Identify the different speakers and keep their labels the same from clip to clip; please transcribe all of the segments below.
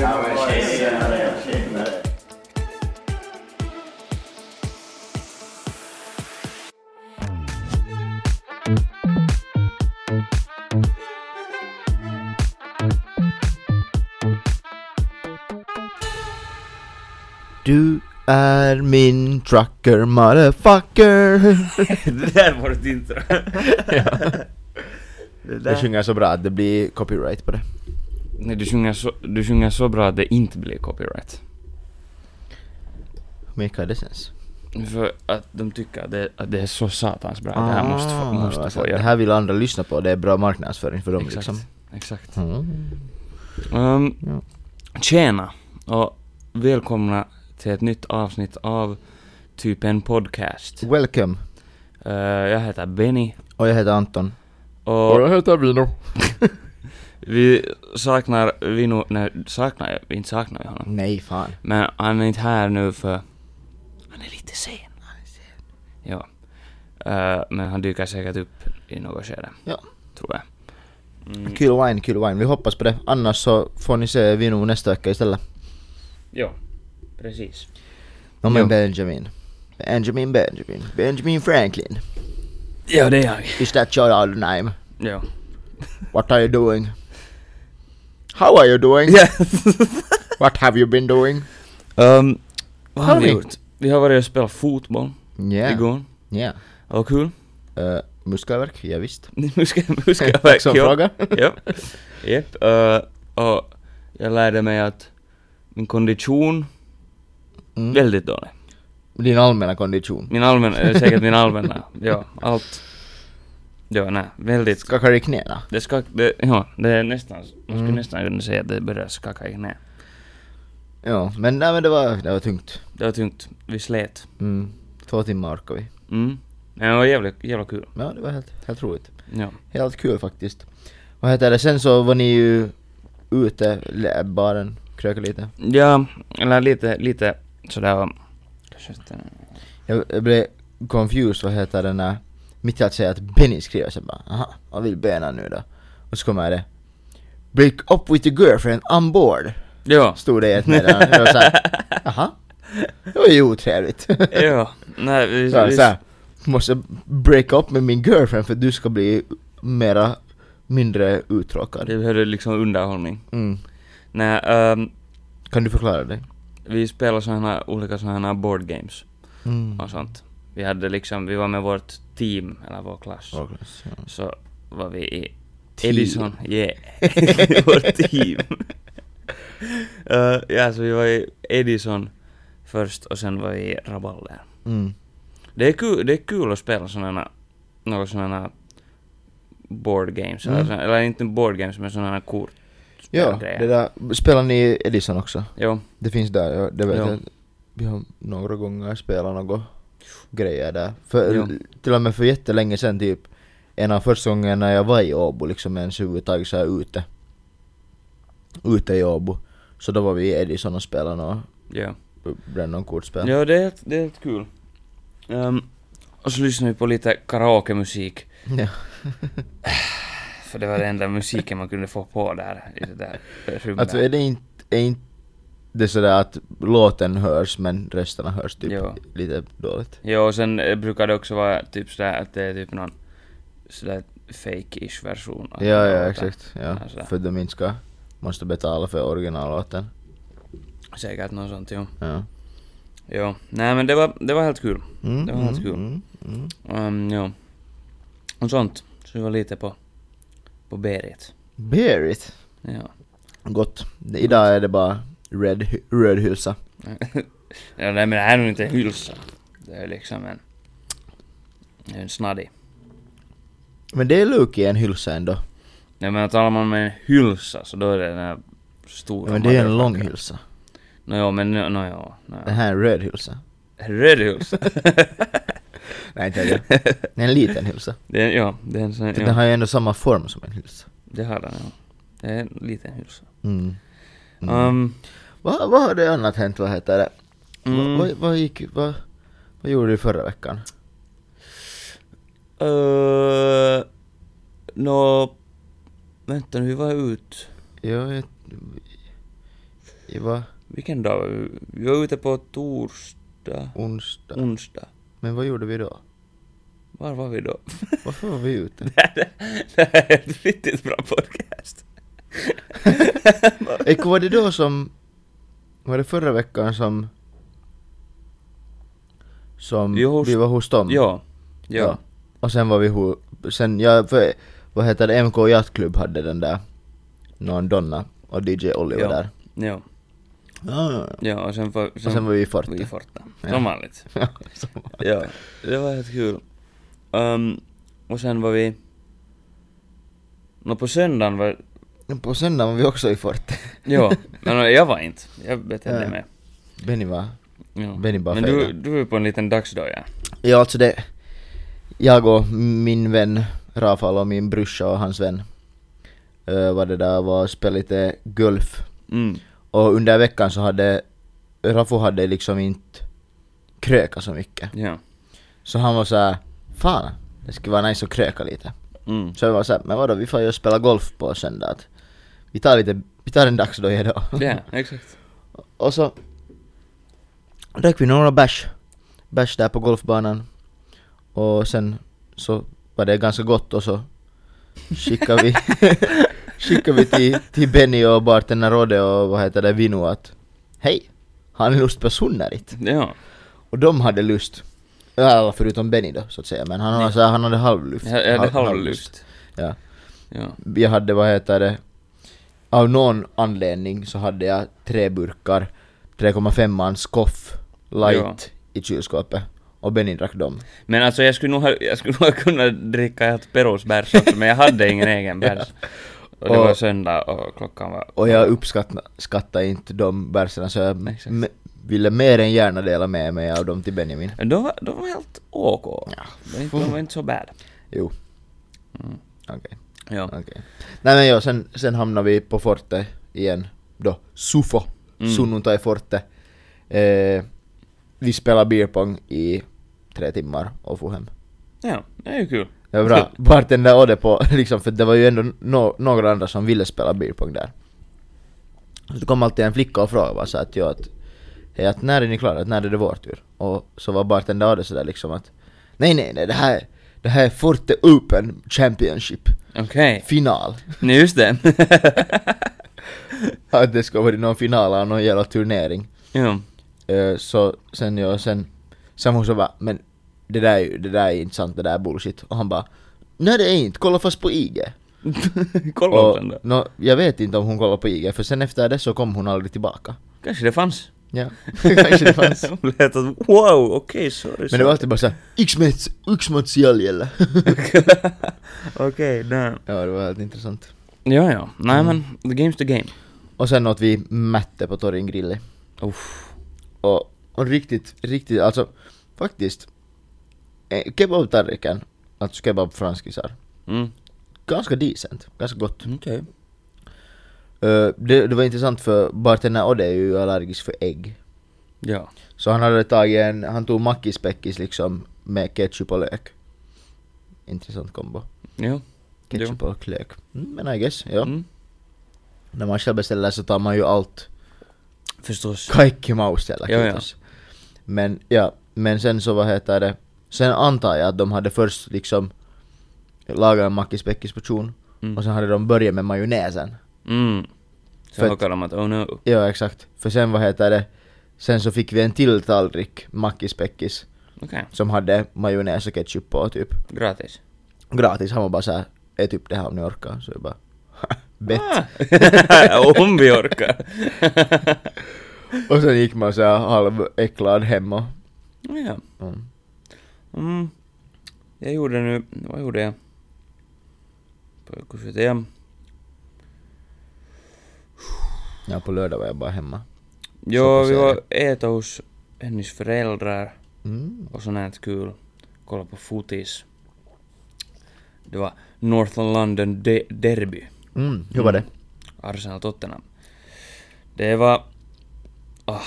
Speaker 1: Ja, men tjenare, tjenare.
Speaker 2: Du är min trucker motherfucker
Speaker 3: Det där var ett intro. Det
Speaker 2: Du
Speaker 3: där.
Speaker 2: sjunger så bra att det blir copyright på det
Speaker 3: Nej, du sjunger, så, du sjunger så bra att det inte blir copyright.
Speaker 2: Make det sens?
Speaker 3: För att de tycker att det, att det är så satans bra. det här måste få, måste
Speaker 2: alltså,
Speaker 3: få
Speaker 2: Det
Speaker 3: göra.
Speaker 2: här vill andra lyssna på, det är bra marknadsföring för dem
Speaker 3: Exakt.
Speaker 2: liksom
Speaker 3: Exakt.
Speaker 2: mm.
Speaker 3: Um,
Speaker 2: Ja.
Speaker 3: Tjena och välkomna till ett nytt avsnitt av typ en podcast.
Speaker 2: Welcome!
Speaker 3: Eh, jag heter Benny
Speaker 2: Och jag heter Anton
Speaker 3: och
Speaker 2: heter Vino
Speaker 3: vi saknar Vino, nej saknar jag, inte saknar jag honom.
Speaker 2: Nej fan
Speaker 3: Men han är inte här nu för han är lite sen. Ja. Eh, men han dyker säkert upp i något skede.
Speaker 2: Ja.
Speaker 3: Tror jag. Mm.
Speaker 2: Kul wine, kul wine, vi hoppas på det Annars så får ni se Vino nästa vecka istället
Speaker 3: Ja, precis.
Speaker 2: Ja men
Speaker 3: Jo.
Speaker 2: Benjamin Benjamin, Benjamin, Benjamin Franklin
Speaker 3: Ja, det är jag.
Speaker 2: Is that your old name?
Speaker 3: Ja.
Speaker 2: What are you doing? How are you doing? What have you been doing?
Speaker 3: Um, vad har
Speaker 2: Har
Speaker 3: vi
Speaker 2: vi?
Speaker 3: gjort? Vi har varit och spelat fotboll
Speaker 2: Yeah.
Speaker 3: igår.
Speaker 2: Yeah.
Speaker 3: Det var kul.
Speaker 2: Uh, muskelvärk, ja, visst.
Speaker 3: Nu ska, nu ska jag
Speaker 2: Tack som
Speaker 3: verkligen-
Speaker 2: fråga.
Speaker 3: Ja. Japp. eh, och jag lärde mig att min kondition,
Speaker 2: Mm.
Speaker 3: väldigt dålig.
Speaker 2: Din allmänna kondition.
Speaker 3: Min allmänna, eh, säkert min allmänna, ja, allt. Ja, nej, väldigt.
Speaker 2: Skakar i knäna.
Speaker 3: Det ska, det, ja, det är nästan, man skulle
Speaker 2: Mm.
Speaker 3: nästan kunna säga att det börjar skaka i knä.
Speaker 2: Ja, men, nej, men det, var, det var tungt.
Speaker 3: Det var tungt, vi slet.
Speaker 2: Mm. Två timmar orkade vi.
Speaker 3: Mm. Men det var jävligt, jävla kul.
Speaker 2: Ja, det var helt, helt roligt.
Speaker 3: Ja.
Speaker 2: Helt kul faktiskt. Vad heter det, sen så var ni ju ute, lä- baren, krökade lite.
Speaker 3: Ja, eller lite, lite sådär... Kanske inte...
Speaker 2: Jag, jag blev confused, vad heter det när mitt i att säga att Benny skriver så bara aha, vad vill Bena nu då? Och så kommer det Break up with your girlfriend on board
Speaker 3: Ja.
Speaker 2: Stod det i ett meddelande, jag var såhär aha, det var ju otrevligt
Speaker 3: ja. Nej, vi,
Speaker 2: så,
Speaker 3: vi,
Speaker 2: så här, måste break up med min girlfriend för att du ska bli mera, mindre uttråkad
Speaker 3: vi behövde liksom underhållning.
Speaker 2: mm.
Speaker 3: Nej, ehm,
Speaker 2: Kan du förklara det?
Speaker 3: vi spelade sådana olika sådana board games
Speaker 2: Mm.
Speaker 3: och sånt. Vi hade liksom, vi var med vårt team, eller vår klass.
Speaker 2: Orglas, ja.
Speaker 3: Så var vi i
Speaker 2: Team.
Speaker 3: Edison, yeah. vårt team. Eh, ja, så vi var i Edison först och sen var vi i Rabalder.
Speaker 2: Mm.
Speaker 3: Det är kul, det är kul att spela sådana, några sådana board games, eller,
Speaker 2: Mm.
Speaker 3: såna, eller inte board games men sådana kort.
Speaker 2: Ja,
Speaker 3: Okej.
Speaker 2: det där, spelar ni Edison också?
Speaker 3: Jo,
Speaker 2: Det finns där, ja, det vet
Speaker 3: Ja.
Speaker 2: jag. att Vi har några gånger spelat något grejer där. För,
Speaker 3: Ja.
Speaker 2: Till och med för jättelänge sedan typ en av första gångerna jag var i Åbo liksom ens överhuvudtaget så här ute. Ute i Åbo. Så då var vi i Edison och spelade något,
Speaker 3: ja.
Speaker 2: brände någon kortspel.
Speaker 3: Ja, det är helt, det är helt kul. Ehm, och så lyssnade vi på lite karaoke-musik,
Speaker 2: Ja.
Speaker 3: för det var den enda musiken man kunde få på där i det där rummet.
Speaker 2: Alltså är det inte, är inte det sådär att låten hörs men resten hörs typ
Speaker 3: Ja.
Speaker 2: lite dåligt?
Speaker 3: Ja, och sen eh, brukar det också vara typ sådär att det är typ någon sådär fake-ish version. av
Speaker 2: Ja, ja
Speaker 3: låten.
Speaker 2: exakt. Ja.
Speaker 3: Alltså.
Speaker 2: För de inte ska, måste betala för originallåten.
Speaker 3: Säkert något sånt, jo.
Speaker 2: Ja.
Speaker 3: Jo. Nej men det var, det var helt kul.
Speaker 2: Mm,
Speaker 3: Det var helt kul.
Speaker 2: mm, mm.
Speaker 3: Um, jo. Och sånt. Så vi var lite på, på Berit.
Speaker 2: Bear it.
Speaker 3: Ja.
Speaker 2: Gott. Det- Idag är det bara red, hy- röd hylsa.
Speaker 3: ja, nej men det här är nog inte en hylsa. Det är liksom en... det är En snaddy.
Speaker 2: Men det är Luke i en hylsa ändå.
Speaker 3: Jag menar talar man med en hylsa så då är det den här stora...
Speaker 2: Oh, Ja, men det är en
Speaker 3: motherfucker.
Speaker 2: lång hylsa.
Speaker 3: Nåja men nå- nåja. No,
Speaker 2: Det här är en röd hylsa.
Speaker 3: Röd hylsa.
Speaker 2: Nej inte jag. Det är en liten hylsa.
Speaker 3: Det är, ja, det är en sån...
Speaker 2: För
Speaker 3: ja.
Speaker 2: Den har ju ändå samma form som en hylsa.
Speaker 3: Det har den, ja. Det är en liten hylsa.
Speaker 2: Mm. Mm.
Speaker 3: Um,
Speaker 2: Vad, vad har det annat hänt? Vad heter det?
Speaker 3: Mm.
Speaker 2: Vad, vad, vad gick... Vad, vad gjorde du förra veckan?
Speaker 3: uh, eh, Nå... Vänta nu, vi var ut...
Speaker 2: Ja, jag... Det var
Speaker 3: Vilken dag var vi? Vi var ute på torsdag,
Speaker 2: onsdag.
Speaker 3: onsdag.
Speaker 2: Men vad gjorde vi då?
Speaker 3: Var var vi då?
Speaker 2: Varför var vi ute?
Speaker 3: det här är en riktigt bra podcast.
Speaker 2: Eko, var det då som... Var det förra veckan som... Som
Speaker 3: Jo, hos-
Speaker 2: vi var hos dem?
Speaker 3: ja, ja.
Speaker 2: Ja. Och sen var vi ho... Sen, ja, för, vad heter det, MK Jattklubb hade den där, någon donna och DJ Olli var
Speaker 3: Ja.
Speaker 2: där.
Speaker 3: Ja,
Speaker 2: Ja, ja, ja.
Speaker 3: ja och sen, var,
Speaker 2: Och sen var vi i Forte.
Speaker 3: vi i Forte.
Speaker 2: Ja.
Speaker 3: Som vanligt. Ja, det var helt kul. Ehm, och sen var vi... Nå på söndagen var...
Speaker 2: På söndagen var vi också i Forte.
Speaker 3: Ja, men jag var inte. Jag betedde
Speaker 2: Ja.
Speaker 3: mig.
Speaker 2: Benny var...
Speaker 3: Ja.
Speaker 2: Benny bara
Speaker 3: Men du,
Speaker 2: fejdade.
Speaker 3: du var ju på en liten dagsdoja.
Speaker 2: Ja, alltså det... Jag och min vän Rafael och min brorsa och hans vän eh, var det där var och spelade lite golf.
Speaker 3: Mm.
Speaker 2: Och under veckan så hade Rafu hade liksom inte kröka så mycket.
Speaker 3: Ja.
Speaker 2: Så han var så här, fan, det skulle vara nice att kröka lite.
Speaker 3: Mm.
Speaker 2: Så jag var såhär, men vadå vi får ju spela golf på söndag. att Vi tar lite, vi tar en dagsdoja då.
Speaker 3: Ja, exakt.
Speaker 2: Och så drack vi några bärs, bärs där på golfbanan. Och sen så var det ganska gott och så skickade vi, skickade vi till, till Benny och bartender Rodde och vad heter det, Vinu att Hej! Har ni lust på sunnerit?
Speaker 3: Ja.
Speaker 2: Och de hade lust. Ja, alla förutom Benny då så att säga, men han, har
Speaker 3: Nej.
Speaker 2: så här, han hade halvlust.
Speaker 3: Jag jag hade
Speaker 2: Halv-
Speaker 3: halvlyft.
Speaker 2: Ja.
Speaker 3: Ja.
Speaker 2: Jag hade, vad heter det, av någon anledning så hade jag tre burkar 3,5-mans koff light i kylskåpet. Och Benny drack dem.
Speaker 3: Men alltså jag skulle nog ha, jag skulle nog ha kunnat dricka helt Perus bärs också, men jag hade ingen egen bärs. Och det
Speaker 2: Och-
Speaker 3: var söndag och klockan var...
Speaker 2: Och jag uppskattade inte de bärserna så jag
Speaker 3: Exakt.
Speaker 2: me- ville mer än gärna dela med mig av dem till Benjamin.
Speaker 3: De var, de var helt OK. De, var inte- de var inte så bad.
Speaker 2: Jo.
Speaker 3: Mm.
Speaker 2: Okej,
Speaker 3: Ja.
Speaker 2: okej. Nej men ja, sen, sen hamnade vi på Forte igen. Då, Sufo.
Speaker 3: Mm.
Speaker 2: Sunnuntai Forte. Eh, vi spelade beer pong i tre timmar och for hem.
Speaker 3: Ja, det är ju kul.
Speaker 2: Det var bra. Bartender och det på liksom, för det var ju ändå no- några andra som ville spela beerpong där. Så kom alltid en flicka och frågade bara så att jag att, hej att när är ni klara? Att när är det vår tur? Och så var bartender och det sådär liksom att nej nej nej det här, det här är Forte Open Championship
Speaker 3: Okej.
Speaker 2: final.
Speaker 3: Nej, just det.
Speaker 2: Att det ska vara någon final av någon jävla turnering.
Speaker 3: ja.
Speaker 2: Eh, så sen jag sen, sen hon så bara men det där, är ju- det där är inte sant, det där är bullshit. Och han bara nej det är inte, kolla fast på IG.
Speaker 3: Kolla upp
Speaker 2: Och,
Speaker 3: den då.
Speaker 2: nå, jag vet inte om hon kollade på IG, för sen efter det så kom hon aldrig tillbaka.
Speaker 3: Kanske det fanns.
Speaker 2: Ja, kanske det fanns.
Speaker 3: Jag blev helt att, wow, okej, sorry.
Speaker 2: Men det var alltid bara såhär X-mets, X-mets jäljelle. typ-
Speaker 3: sorry. Okej, damn.
Speaker 2: ja, det var helt intressant.
Speaker 3: Ja, ja. Nej
Speaker 2: Mm.
Speaker 3: men, the game's the game.
Speaker 2: Och sen åt vi mätte på Torrin Grilli.
Speaker 3: Uff.
Speaker 2: Och, och riktigt, riktigt, alltså faktiskt. eh, Kebabtallriken, alltså kebab franskisar.
Speaker 3: Mm.
Speaker 2: Ganska decent, ganska gott.
Speaker 3: Okej.
Speaker 2: Eh, det, det var intressant för bartendern Odde är ju allergisk för ägg.
Speaker 3: Ja.
Speaker 2: Så han hade tagit en, han tog mackis-päckis liksom med ketchup och lök. Intressant kombo.
Speaker 3: Ja.
Speaker 2: Ketchup och lök. Mm, men I guess, ja.
Speaker 3: Mm.
Speaker 2: När man själv beställer så tar man ju allt.
Speaker 3: Förstås.
Speaker 2: Kaikkimaus eller
Speaker 3: Ja, ja.
Speaker 2: kiitos. Men ja, men sen så vad heter det. Sen antar jag att de hade först liksom lagat en mackis-päckis portion.
Speaker 3: Mm.
Speaker 2: Och sen hade de börjat med majonnäsen.
Speaker 3: Mm.
Speaker 2: För
Speaker 3: Sen
Speaker 2: att-
Speaker 3: hockade de att oh no.
Speaker 2: Ja exakt. För sen vad heter det. Sen så fick vi en till tallrik mackis-päckis.
Speaker 3: Okej,
Speaker 2: Som hade majonnäs och ketchup på typ.
Speaker 3: gratis.
Speaker 2: gratis, han var bara såhär ät upp det här om ni orkar, så jag bara bett.
Speaker 3: Ah. Om vi orkar.
Speaker 2: Och sen gick man såhär halväcklad hemma.
Speaker 3: Oh, ja.
Speaker 2: Mm.
Speaker 3: Mm. Jag gjorde nu, vad gjorde jag? På QCTM.
Speaker 2: Ja, på lördag var jag bara hemma.
Speaker 3: Ja,
Speaker 2: pass
Speaker 3: vi
Speaker 2: är
Speaker 3: var äta hos Hennys föräldrar
Speaker 2: Mm.
Speaker 3: och sånt här kul. Kolla på fotis. Det var North London de- Derby.
Speaker 2: Mm. Hur var det?
Speaker 3: Arsenal-Tottenham. Det var... Ah.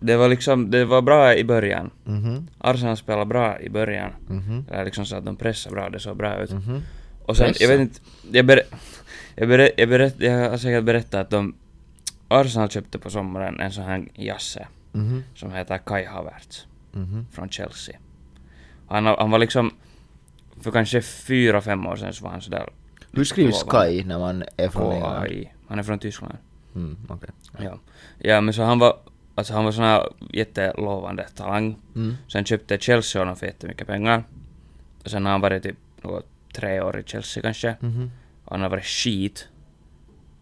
Speaker 3: Det var liksom, det var bra i början.
Speaker 2: Mhm.
Speaker 3: Arsenal spelade bra i början.
Speaker 2: Mhm.
Speaker 3: Eller liksom så att de pressade bra, det såg bra ut.
Speaker 2: Mhm.
Speaker 3: Och sen, jag vet inte, jag, ber, jag, ber, jag, berätt, jag har säkert berättat att de, Arsenal köpte på sommaren en sån här jasse
Speaker 2: Mhm.
Speaker 3: som heter Kai Havertz
Speaker 2: Mhm.
Speaker 3: från Chelsea. Han, har- han var liksom, för kanske fyra, fem år sedan så var han sådär
Speaker 2: Hur skrivs
Speaker 3: Lovar.
Speaker 2: Sky när man är från England?
Speaker 3: KAI. Han är från Tyskland.
Speaker 2: Mm, okej.
Speaker 3: Ja. ja, men så han var, alltså han var sån här jättelovande talang.
Speaker 2: Mm.
Speaker 3: Sen köpte Chelsea honom för jättemycket pengar. Och sen har han varit typ något, tre år i Chelsea kanske.
Speaker 2: Mhm.
Speaker 3: Och han har varit skit.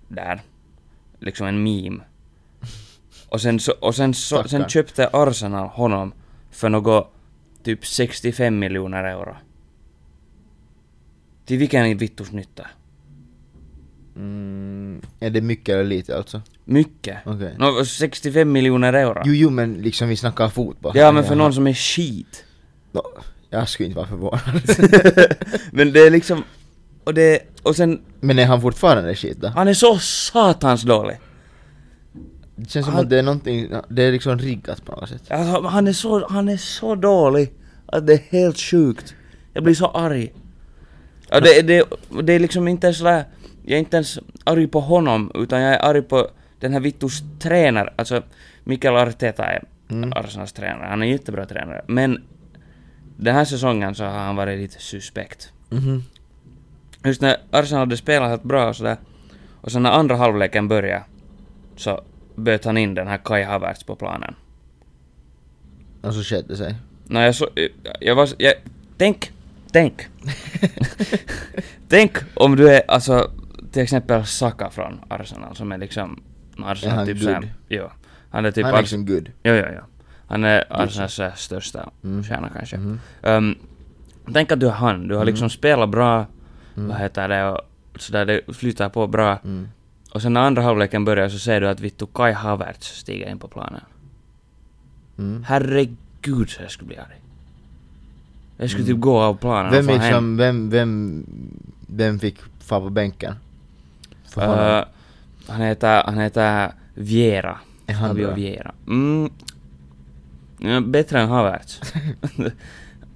Speaker 3: Där. Liksom en meme. Och sen så, och sen så, sen
Speaker 2: Stackarn.
Speaker 3: köpte Arsenal honom för något typ 65 miljoner euro. Till vilken vittus nytta?
Speaker 2: Mm, är det mycket eller lite alltså?
Speaker 3: Mycket.
Speaker 2: Okej.
Speaker 3: Nå, 65 miljoner euro.
Speaker 2: Jo, jo, men liksom vi snackar fotboll.
Speaker 3: Ja men för någon som är skit.
Speaker 2: Nå, jag skulle inte vara förvånad.
Speaker 3: Men det är liksom... Och det... Och sen...
Speaker 2: men är han fortfarande skit då?
Speaker 3: Han är så satans dålig.
Speaker 2: Det känns som
Speaker 3: han-
Speaker 2: att det är någonting, det är liksom riggat på något sätt.
Speaker 3: Alltså, han är så... Han är så dålig. Att det är helt sjukt. Jag blir så arg. Ja, det, det, det är liksom inte ens sådär... Jag är inte ens arg på honom, utan jag är arg på den här Vittus tränare. Alltså, Mikael Arteta är Arsenals tränare. Han är en jättebra tränare. Men den här säsongen så har han varit lite suspekt.
Speaker 2: Mhm.
Speaker 3: just när Arsenal hade spelat helt bra och sådär, och sen när andra halvleken började, så böt han in den här Kai Havertz på planen.
Speaker 2: Och så skedde sig.
Speaker 3: Nå, jag, så, jag var... Jag, tänk! Tänk! tänk om du är alltså till exempel Saka från Arsenal som är liksom... Arsenal
Speaker 2: Är han
Speaker 3: typ
Speaker 2: good?
Speaker 3: såhär... Jo. Han är typ...
Speaker 2: han är
Speaker 3: Ars-
Speaker 2: liksom good.
Speaker 3: Jo, jo, jo. Han är Arsenals eh, största
Speaker 2: Mm.
Speaker 3: stjärna kanske.
Speaker 2: Mm-hmm.
Speaker 3: Ehm, tänk att du är han. Du har liksom spelat bra,
Speaker 2: Mm-hmm.
Speaker 3: vad heter det, och sådär, det flyter på bra.
Speaker 2: Mm.
Speaker 3: Och sen när andra halvleken börjar så ser du att vittu Kai Havertz stiger in på planen.
Speaker 2: Mm.
Speaker 3: Herregud så jag skulle bli arg. Jag skulle typ gå av planen och
Speaker 2: Mm. Vem
Speaker 3: få hem.
Speaker 2: liksom, vem, vem, vem fick fan på bänken? För honom?
Speaker 3: Eh, han heter, han heter Viera.
Speaker 2: Är han
Speaker 3: Fabio
Speaker 2: bra?
Speaker 3: Viera. Mm. Ja, bättre än Havertz.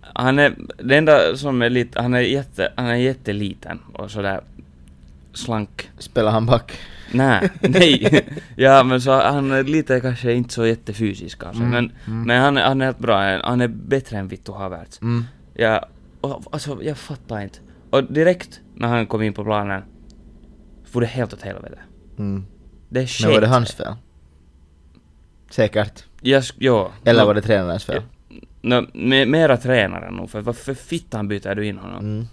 Speaker 3: han är, det enda som är lite, han är jätte, han är jätteliten och sådär slank.
Speaker 2: Spelar han back?
Speaker 3: Nej, nej. ja men så han är lite kanske inte så jättefysisk kanske
Speaker 2: Mm,
Speaker 3: men, men han, är- han är helt bra, han är bättre än Vittu Havertz.
Speaker 2: Mm.
Speaker 3: Ja, och, alltså jag fattar inte. Och direkt när han kom in på planen, for det helt åt helvete.
Speaker 2: Mm.
Speaker 3: Det är shit.
Speaker 2: Men var det hans fel? Säkert.
Speaker 3: Jag sk- jo.
Speaker 2: Eller
Speaker 3: Nå-
Speaker 2: var det tränarens fel?
Speaker 3: Nå, me, mera tränaren nog, för varför fittan byter du in honom?
Speaker 2: Mm.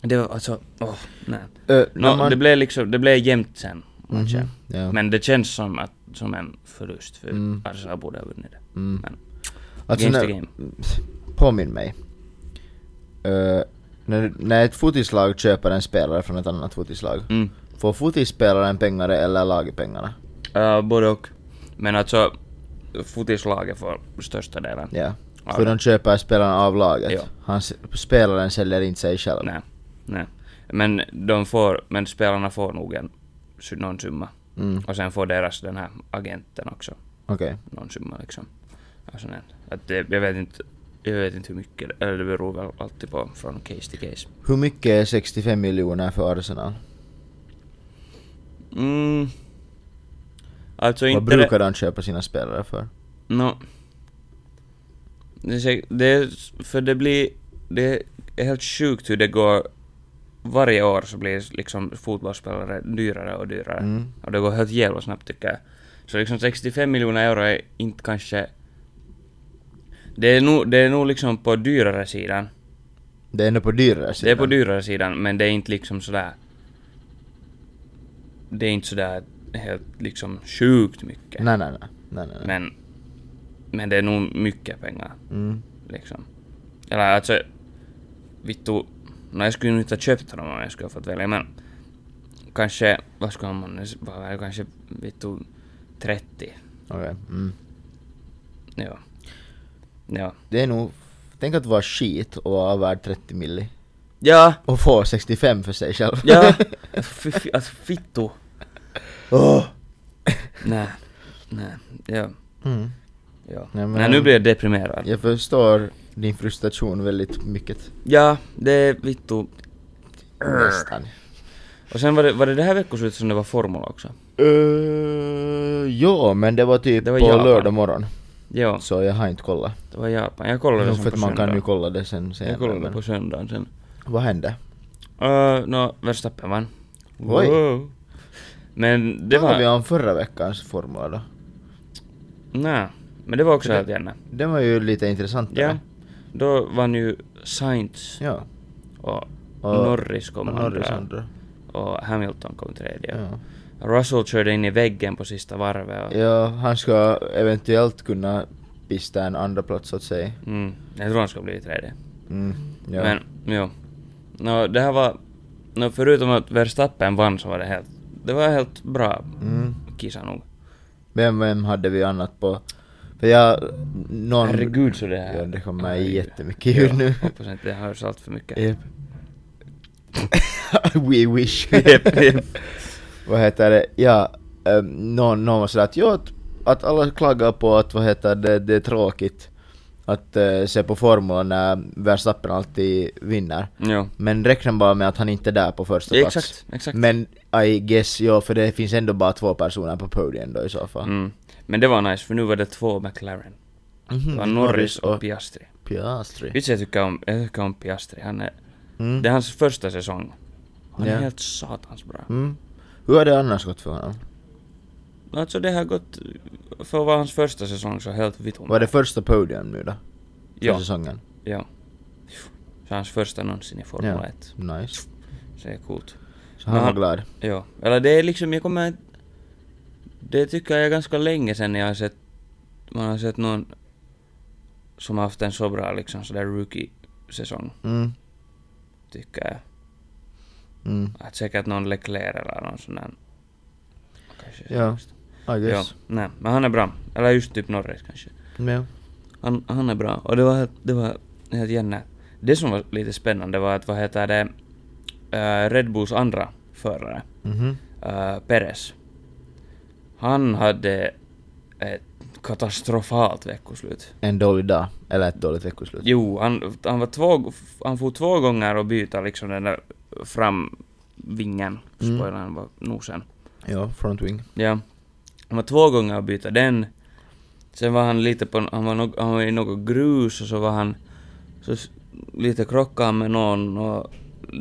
Speaker 3: Det var alltså, åh, nej.
Speaker 2: Ö,
Speaker 3: Nå,
Speaker 2: Eh, när man-
Speaker 3: det blev liksom, det blev jämnt sen, matchen.
Speaker 2: Mhm, ja.
Speaker 3: Men det känns som att, som en förlust, för
Speaker 2: Mm.
Speaker 3: Arsenal borde ha vunnit det.
Speaker 2: Mm.
Speaker 3: Men,
Speaker 2: Alltså
Speaker 3: games
Speaker 2: när,
Speaker 3: to game.
Speaker 2: Påminn mig. Ö, när, när ett fotislag köper en spelare från ett annat fotislag,
Speaker 3: Mm.
Speaker 2: får fotispelaren pengar eller laget pengarna?
Speaker 3: Uh, både och. Men alltså, fotislaget får största delen.
Speaker 2: Ja.
Speaker 3: Ja,
Speaker 2: För de köper spelaren av laget.
Speaker 3: Ja.
Speaker 2: Han, s- spelaren säljer inte sig själv.
Speaker 3: Nej, nej. Men de får, men spelarna får nog en, sy- någon summa.
Speaker 2: Mm.
Speaker 3: Och sen får deras, den här agenten också.
Speaker 2: Okej.
Speaker 3: någon summa liksom. Och sån här. Att det, jag, vet inte, jag vet inte hur mycket, det- eller det beror väl alltid på från case till case.
Speaker 2: Hur mycket är 65 miljoner för Arsenal?
Speaker 3: Mm. Alltså
Speaker 2: Vad
Speaker 3: inte
Speaker 2: brukar
Speaker 3: det...
Speaker 2: de köpa sina spelare för?
Speaker 3: No. Det är, säk- det är, för det blir, det är helt sjukt hur det går. Varje år så blir liksom fotbollsspelare dyrare och dyrare.
Speaker 2: Mm.
Speaker 3: Och det går helt jävla snabbt tycker jag. Så liksom 65 miljoner euro är inte kanske... Det är nog, det är nog liksom på dyrare sidan.
Speaker 2: Det är ändå på dyrare
Speaker 3: Det är på
Speaker 2: sidan.
Speaker 3: dyrare sidan, men det är inte liksom sådär... Det är inte sådär helt liksom sjukt mycket.
Speaker 2: Nej, nej, nej. nej, nej, nej.
Speaker 3: Men, men det är nog mycket pengar,
Speaker 2: Mm.
Speaker 3: liksom. Eller alltså, vittu... No, jag skulle ju inte ha köpt honom om jag skulle ha fått välja, men... Kanske, vad skulle man vara värd? Kanske vittu 30.
Speaker 2: Okej. Mm.
Speaker 3: Ja. Ja.
Speaker 2: Det är nog... Tänk att vara skit och vara värd 30 milli.
Speaker 3: Ja!
Speaker 2: Och få 65 för sig själv.
Speaker 3: Ja! Fy- fy- alltså fittu.
Speaker 2: Åh!
Speaker 3: Nej. Nej. Ja.
Speaker 2: Mm.
Speaker 3: Ja.
Speaker 2: Nej, men-
Speaker 3: Nej, nu blir jag deprimerad.
Speaker 2: Jag förstår din frustration väldigt mycket.
Speaker 3: Ja, det är vittu.
Speaker 2: Nästan.
Speaker 3: Och sen var det, var det det här veckoslutet som det var formula också?
Speaker 2: Uh, jo, men det var typ
Speaker 3: Det var
Speaker 2: på
Speaker 3: Japan.
Speaker 2: lördag morgon.
Speaker 3: Ja,
Speaker 2: Så jag har inte kollat.
Speaker 3: det var Japan. Jag kollade
Speaker 2: Jo,
Speaker 3: sen
Speaker 2: för
Speaker 3: på
Speaker 2: att man kan
Speaker 3: söndagen.
Speaker 2: ju kolla det sen
Speaker 3: Jag
Speaker 2: senare.
Speaker 3: kollade
Speaker 2: Men
Speaker 3: på söndagen sen.
Speaker 2: vad hände?
Speaker 3: Uh, Nå, Verstappen vann.
Speaker 2: Oj.
Speaker 3: Wow. Men det
Speaker 2: Det var vi
Speaker 3: var...
Speaker 2: om förra veckans formula då.
Speaker 3: Nej, men det var också helt jävla.
Speaker 2: Den var ju lite intressant.
Speaker 3: Ja. Då vann ju Sainz
Speaker 2: ja.
Speaker 3: och,
Speaker 2: Och-
Speaker 3: Norris kom
Speaker 2: och Norris andra.
Speaker 3: och Hamilton kom tredje.
Speaker 2: Ja.
Speaker 3: Russell körde in i väggen på sista varvet. Och,
Speaker 2: ja, han ska eventuellt kunna pista en andra plats åt sig.
Speaker 3: mm, jag tror han ska bli tredje.
Speaker 2: Mm, ja.
Speaker 3: Men, jo. Nå, det här var... nå förutom att Verstappen vann så var det helt... Det var helt bra
Speaker 2: Mm.
Speaker 3: kisa nog.
Speaker 2: Vem, vem hade vi annat på? För jag... Någon...
Speaker 3: Herregud så det här...
Speaker 2: Ja, det kommer
Speaker 3: Herregud.
Speaker 2: jättemycket ljud nu.
Speaker 3: Hoppas inte det hörs allt för mycket.
Speaker 2: Jep. We wish.
Speaker 3: Jep, jep.
Speaker 2: vad heter det? Ja, ehm, någon, någon var sådär att, jo, att, att alla klagar på att vad heter det, det är tråkigt att eh, se på Formula när Verstappen alltid vinner.
Speaker 3: Jo.
Speaker 2: Men räkna bara med att han inte är där på första
Speaker 3: Ja,
Speaker 2: plats.
Speaker 3: exakt, exakt.
Speaker 2: Men I guess, ja för det finns ändå bara två personer på podien då i så fall.
Speaker 3: Mm. Men det var nice, för nu var det två McLaren.
Speaker 2: Mhm,
Speaker 3: Det var Norris och Piastri.
Speaker 2: Piastri.
Speaker 3: Vitsi jag tycker om, jag tycker om Piastri. Han är,
Speaker 2: Mm.
Speaker 3: Det är hans första säsong. Han
Speaker 2: Ja.
Speaker 3: är helt satans bra.
Speaker 2: Mm. Hur har det annars gått för honom?
Speaker 3: Alltså det har gått, för att vara hans första säsong så helt vitun.
Speaker 2: Var det första podien nu då? För
Speaker 3: Ja.
Speaker 2: säsongen?
Speaker 3: Ja. Så hans första någonsin i Formula
Speaker 2: Ja.
Speaker 3: 1.
Speaker 2: Nice.
Speaker 3: Så det är coolt.
Speaker 2: Så han
Speaker 3: Men
Speaker 2: var
Speaker 3: han-
Speaker 2: glad.
Speaker 3: Ja, eller det är liksom, jag kommer inte- Det tycker jag är ganska länge sedan jag har sett, man har sett någon som har haft en så bra liksom sådär rookie-säsong,
Speaker 2: Mm.
Speaker 3: tycker jag.
Speaker 2: Mm.
Speaker 3: Att säkert någon Leclerc eller någon sån där. Kanske
Speaker 2: Ja.
Speaker 3: senast.
Speaker 2: I
Speaker 3: ja.
Speaker 2: guess.
Speaker 3: Nej, men han är bra. Eller just typ Norris kanske.
Speaker 2: Ja.
Speaker 3: Han, han är bra. Och det var helt, det var helt jännä. Det som var lite spännande var att vad heter det, eh, Red Bulls andra förare,
Speaker 2: Mhm.
Speaker 3: eh, Perez. Han hade ett katastrofalt veckoslut.
Speaker 2: En dålig dag. Eller ett dåligt veckoslut.
Speaker 3: Jo, han, han var två, han får två gånger och byta liksom den där framvingen,
Speaker 2: Mm.
Speaker 3: spoilern var nosen.
Speaker 2: Ja, front wing.
Speaker 3: Ja. Han var två gånger och byta den. Sen var han lite på, han var, nog, han var i något grus och så var han så s- lite krockad med någon och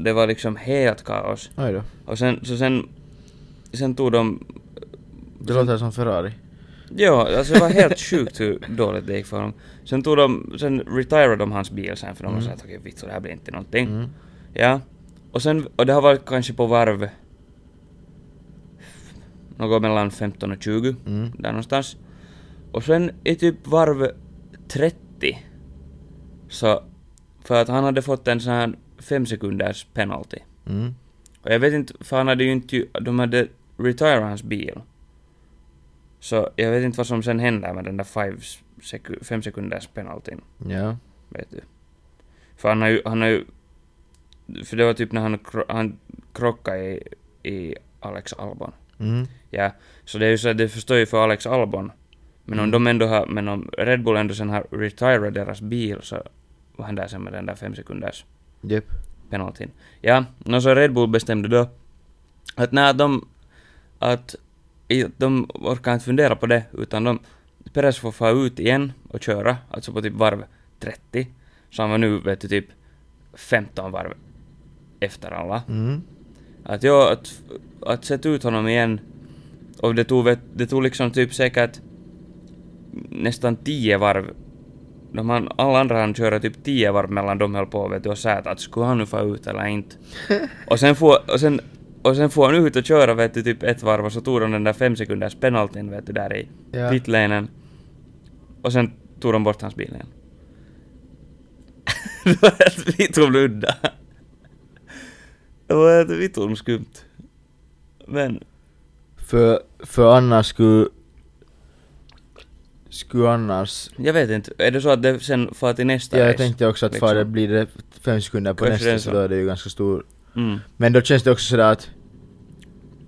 Speaker 3: det var liksom helt kaos.
Speaker 2: Oj då.
Speaker 3: Och sen, så sen, sen tog de,
Speaker 2: Det
Speaker 3: Mm.
Speaker 2: låter som Ferrari.
Speaker 3: ja alltså det var helt sjukt hur dåligt det gick för dem. Sen tog de, sen retirade de hans bil sen för de var såhär att okej vits det här blir inte någonting.
Speaker 2: Mm.
Speaker 3: Ja. Och sen, och det har varit kanske på varv något mellan 15 och 20,
Speaker 2: Mm.
Speaker 3: där någonstans. Och sen i typ varv 30, så, för att han hade fått en sån här fem sekunders penalty.
Speaker 2: Mm.
Speaker 3: Och jag vet inte, för han hade ju inte, ju- de hade retirat hans bil. Så jag vet inte vad som sen händer med den där five seku, fem sekunders penaltyn
Speaker 2: Ja.
Speaker 3: vet du. För han har ju, han har ju, för det var typ när han, kro- han krockade i, i Alex Albon.
Speaker 2: Mm.
Speaker 3: Ja, så det är ju så att det förstör ju för Alex Albon. Men om de ändå har, men om Red Bull ändå sen har retirat deras bil så vad händer sen med den där fem sekunders
Speaker 2: Jep.
Speaker 3: penaltin? Ja, nå så Red Bull bestämde då att när de, att i- de orkar inte fundera på det utan de, Perez får fara ut igen och köra, alltså på typ varv 30. Så han var nu vet du typ 15 varv efter alla.
Speaker 2: Mm.
Speaker 3: Att jag, att, att sätta ut honom igen, och det tog, vet- det tog liksom typ säkert nästan tio varv. De han, alla andra han köra typ tio varv mellan dem höll på vet du, och sa att skulle han nu få ut eller inte. och sen får, och sen, och sen får han ut och köra vet du typ ett varv och så tog de den där fem sekunders penaltin vet du där i
Speaker 2: Ja.
Speaker 3: pitlenen. Och sen tog de bort hans bil igen. det var helt vitrum udda. Det var helt vitrum skumt. Men,
Speaker 2: För, för annars skulle... Skulle annars...
Speaker 3: jag vet inte, är det så att det sen far till nästa
Speaker 2: Ja, jag
Speaker 3: race?
Speaker 2: tänkte också att
Speaker 3: liksom.
Speaker 2: för det blir det fem sekunder på
Speaker 3: Kanske det
Speaker 2: nästa
Speaker 3: är
Speaker 2: så
Speaker 3: så.
Speaker 2: då är det ju ganska stor...
Speaker 3: Mm.
Speaker 2: Men då känns det också sådär att...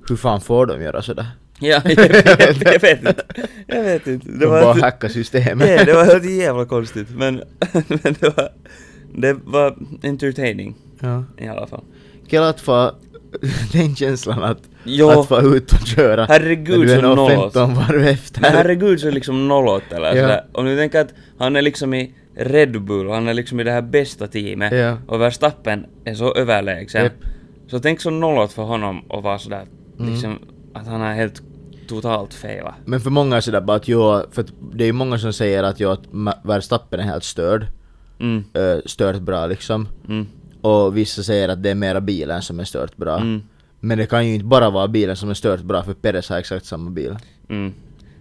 Speaker 2: Hur fan får de göra sådär?
Speaker 3: Ja, jag vet, jag vet inte. Jag vet inte.
Speaker 2: De bara
Speaker 3: helt-
Speaker 2: hackar systemet.
Speaker 3: Nej, det var helt jävla konstigt. Men, men det var... Det var entertaining
Speaker 2: Ja.
Speaker 3: i alla fall.
Speaker 2: Kul att få den känslan att,
Speaker 3: Jo.
Speaker 2: att få ut och köra.
Speaker 3: Herregud,
Speaker 2: när du är
Speaker 3: så
Speaker 2: nog
Speaker 3: nollås.
Speaker 2: 15 varv efter.
Speaker 3: Men herregud så liksom nollåt eller
Speaker 2: Ja.
Speaker 3: sådär. Om du tänker att han är liksom i Red Bull, han är liksom i det här bästa teamet
Speaker 2: Ja.
Speaker 3: och Verstappen är så överlägsen.
Speaker 2: Japp.
Speaker 3: Så tänk så nollåt för honom och vara sådär
Speaker 2: Mm.
Speaker 3: liksom att han har helt totalt failat.
Speaker 2: Men för många är sådär bara att jag, för att det är ju många som säger att jag, att Ma- Verstappen är helt störd.
Speaker 3: Mm.
Speaker 2: eh, stört bra liksom.
Speaker 3: Mm.
Speaker 2: Och vissa säger att det är mera bilen som är stört bra.
Speaker 3: Mm.
Speaker 2: Men det kan ju inte bara vara bilen som är stört bra för Perez har exakt samma bil.
Speaker 3: Mm.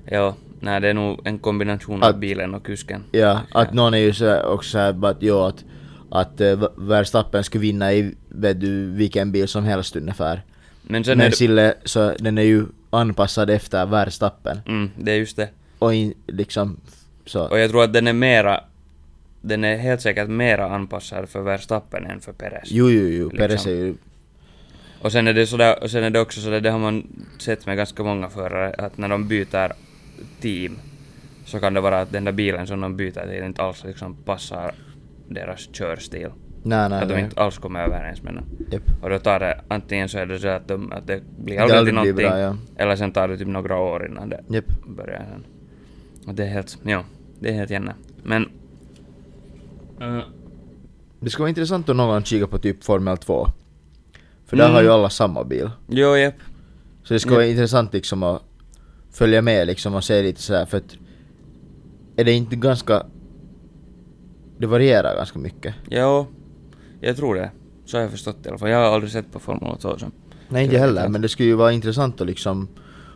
Speaker 3: Ja, nej det är nog en kombination
Speaker 2: Att-
Speaker 3: av bilen och kusken.
Speaker 2: Ja, att någon är ju så här, också såhär bara att jo att, att eh, Ver- Verstappen skulle vinna i vet du, vilken bil som helst ungefär.
Speaker 3: Men sen är
Speaker 2: Men
Speaker 3: det...
Speaker 2: Sille, så den är ju anpassad efter Verstappen.
Speaker 3: Mm, det är just det.
Speaker 2: Och in, liksom så.
Speaker 3: Och jag tror att den är mera... Den är helt säkert mera anpassad för Verstappen än för Perez.
Speaker 2: Jo, jo, jo, Perez
Speaker 3: Liksom.
Speaker 2: är ju...
Speaker 3: Och sen är det sådär, och sen är det också sådär, det har man sett med ganska många förare, att när de byter team så kan det vara att den där bilen som de byter till inte alls liksom passar deras körstil.
Speaker 2: Nej, nej,
Speaker 3: Att de
Speaker 2: nej.
Speaker 3: inte alls kommer överens med den.
Speaker 2: Japp.
Speaker 3: Och då tar det, antingen så är det så att, de, att det blir aldrig till
Speaker 2: aldrig blir
Speaker 3: någonting,
Speaker 2: bra,
Speaker 3: eller sen tar det typ några år innan det
Speaker 2: Japp.
Speaker 3: börjar sen. Och det är helt, ja, det är helt jämna. Men... eh,
Speaker 2: Det skulle vara intressant om någon kikar på typ Formel 2. För
Speaker 3: Mm.
Speaker 2: där har ju alla samma bil.
Speaker 3: jo, japp.
Speaker 2: Så det skulle vara intressant liksom att följa med liksom och se lite sådär för att är det inte ganska... Det varierar ganska mycket.
Speaker 3: Jo, jag tror det. Så har jag förstått det i alla fall. Jag har aldrig sett på Formula 2 så.
Speaker 2: Nej inte heller, men det skulle ju vara intressant att liksom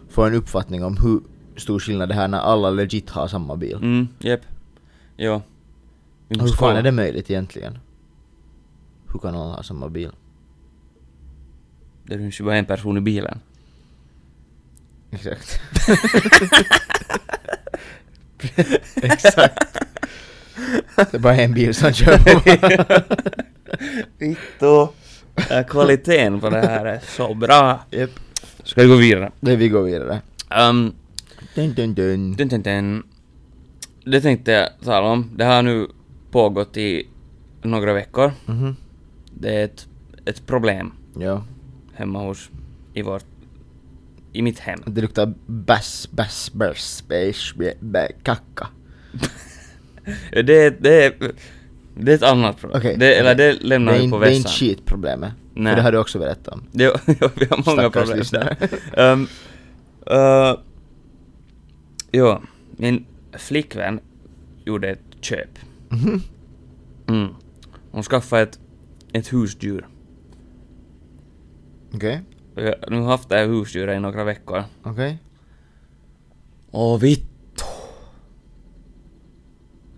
Speaker 2: få en uppfattning om hur stor skillnad det här när alla legit har samma bil.
Speaker 3: Mm, jep. Jo. Vi
Speaker 2: Hur
Speaker 3: måste
Speaker 2: fan
Speaker 3: kolla.
Speaker 2: är det möjligt egentligen? Hur kan alla ha samma bil?
Speaker 3: Det finns ju bara en person i bilen.
Speaker 2: Exakt. Exakt. Det är bara en bil som kör på.
Speaker 3: Vittu! Kvaliteten på det här är så bra!
Speaker 2: Japp.
Speaker 3: Ska vi gå vidare?
Speaker 2: Nej, vi går vidare.
Speaker 3: Um,
Speaker 2: Dun, dun, dun.
Speaker 3: dun, dun, dun. Det tänkte jag tala om. Det har nu pågått i några veckor.
Speaker 2: Mhm.
Speaker 3: Det är ett, ett problem
Speaker 2: Ja.
Speaker 3: hemma hos, i vårt, i mitt hem.
Speaker 2: Det luktar bass, bass, bass, bass, bass, bass kacka.
Speaker 3: Det, är- det, är- det är ett annat problem.
Speaker 2: Okej.
Speaker 3: Det, eller det lämnar
Speaker 2: Det är
Speaker 3: vi
Speaker 2: inte-
Speaker 3: på
Speaker 2: Det är inte
Speaker 3: vässan.
Speaker 2: skitproblemet. För
Speaker 3: Nej.
Speaker 2: det har du också berättat om.
Speaker 3: Jo, jo, vi har många
Speaker 2: Stackars
Speaker 3: problem
Speaker 2: lyssnare.
Speaker 3: där. Ehm, eh, jo, min flickvän gjorde ett köp.
Speaker 2: Mhm.
Speaker 3: Mm. Hon skaffade ett, ett husdjur.
Speaker 2: Okej,
Speaker 3: Och Jag har nu haft det här husdjuret i några veckor.
Speaker 2: okej.
Speaker 3: Åh vittu!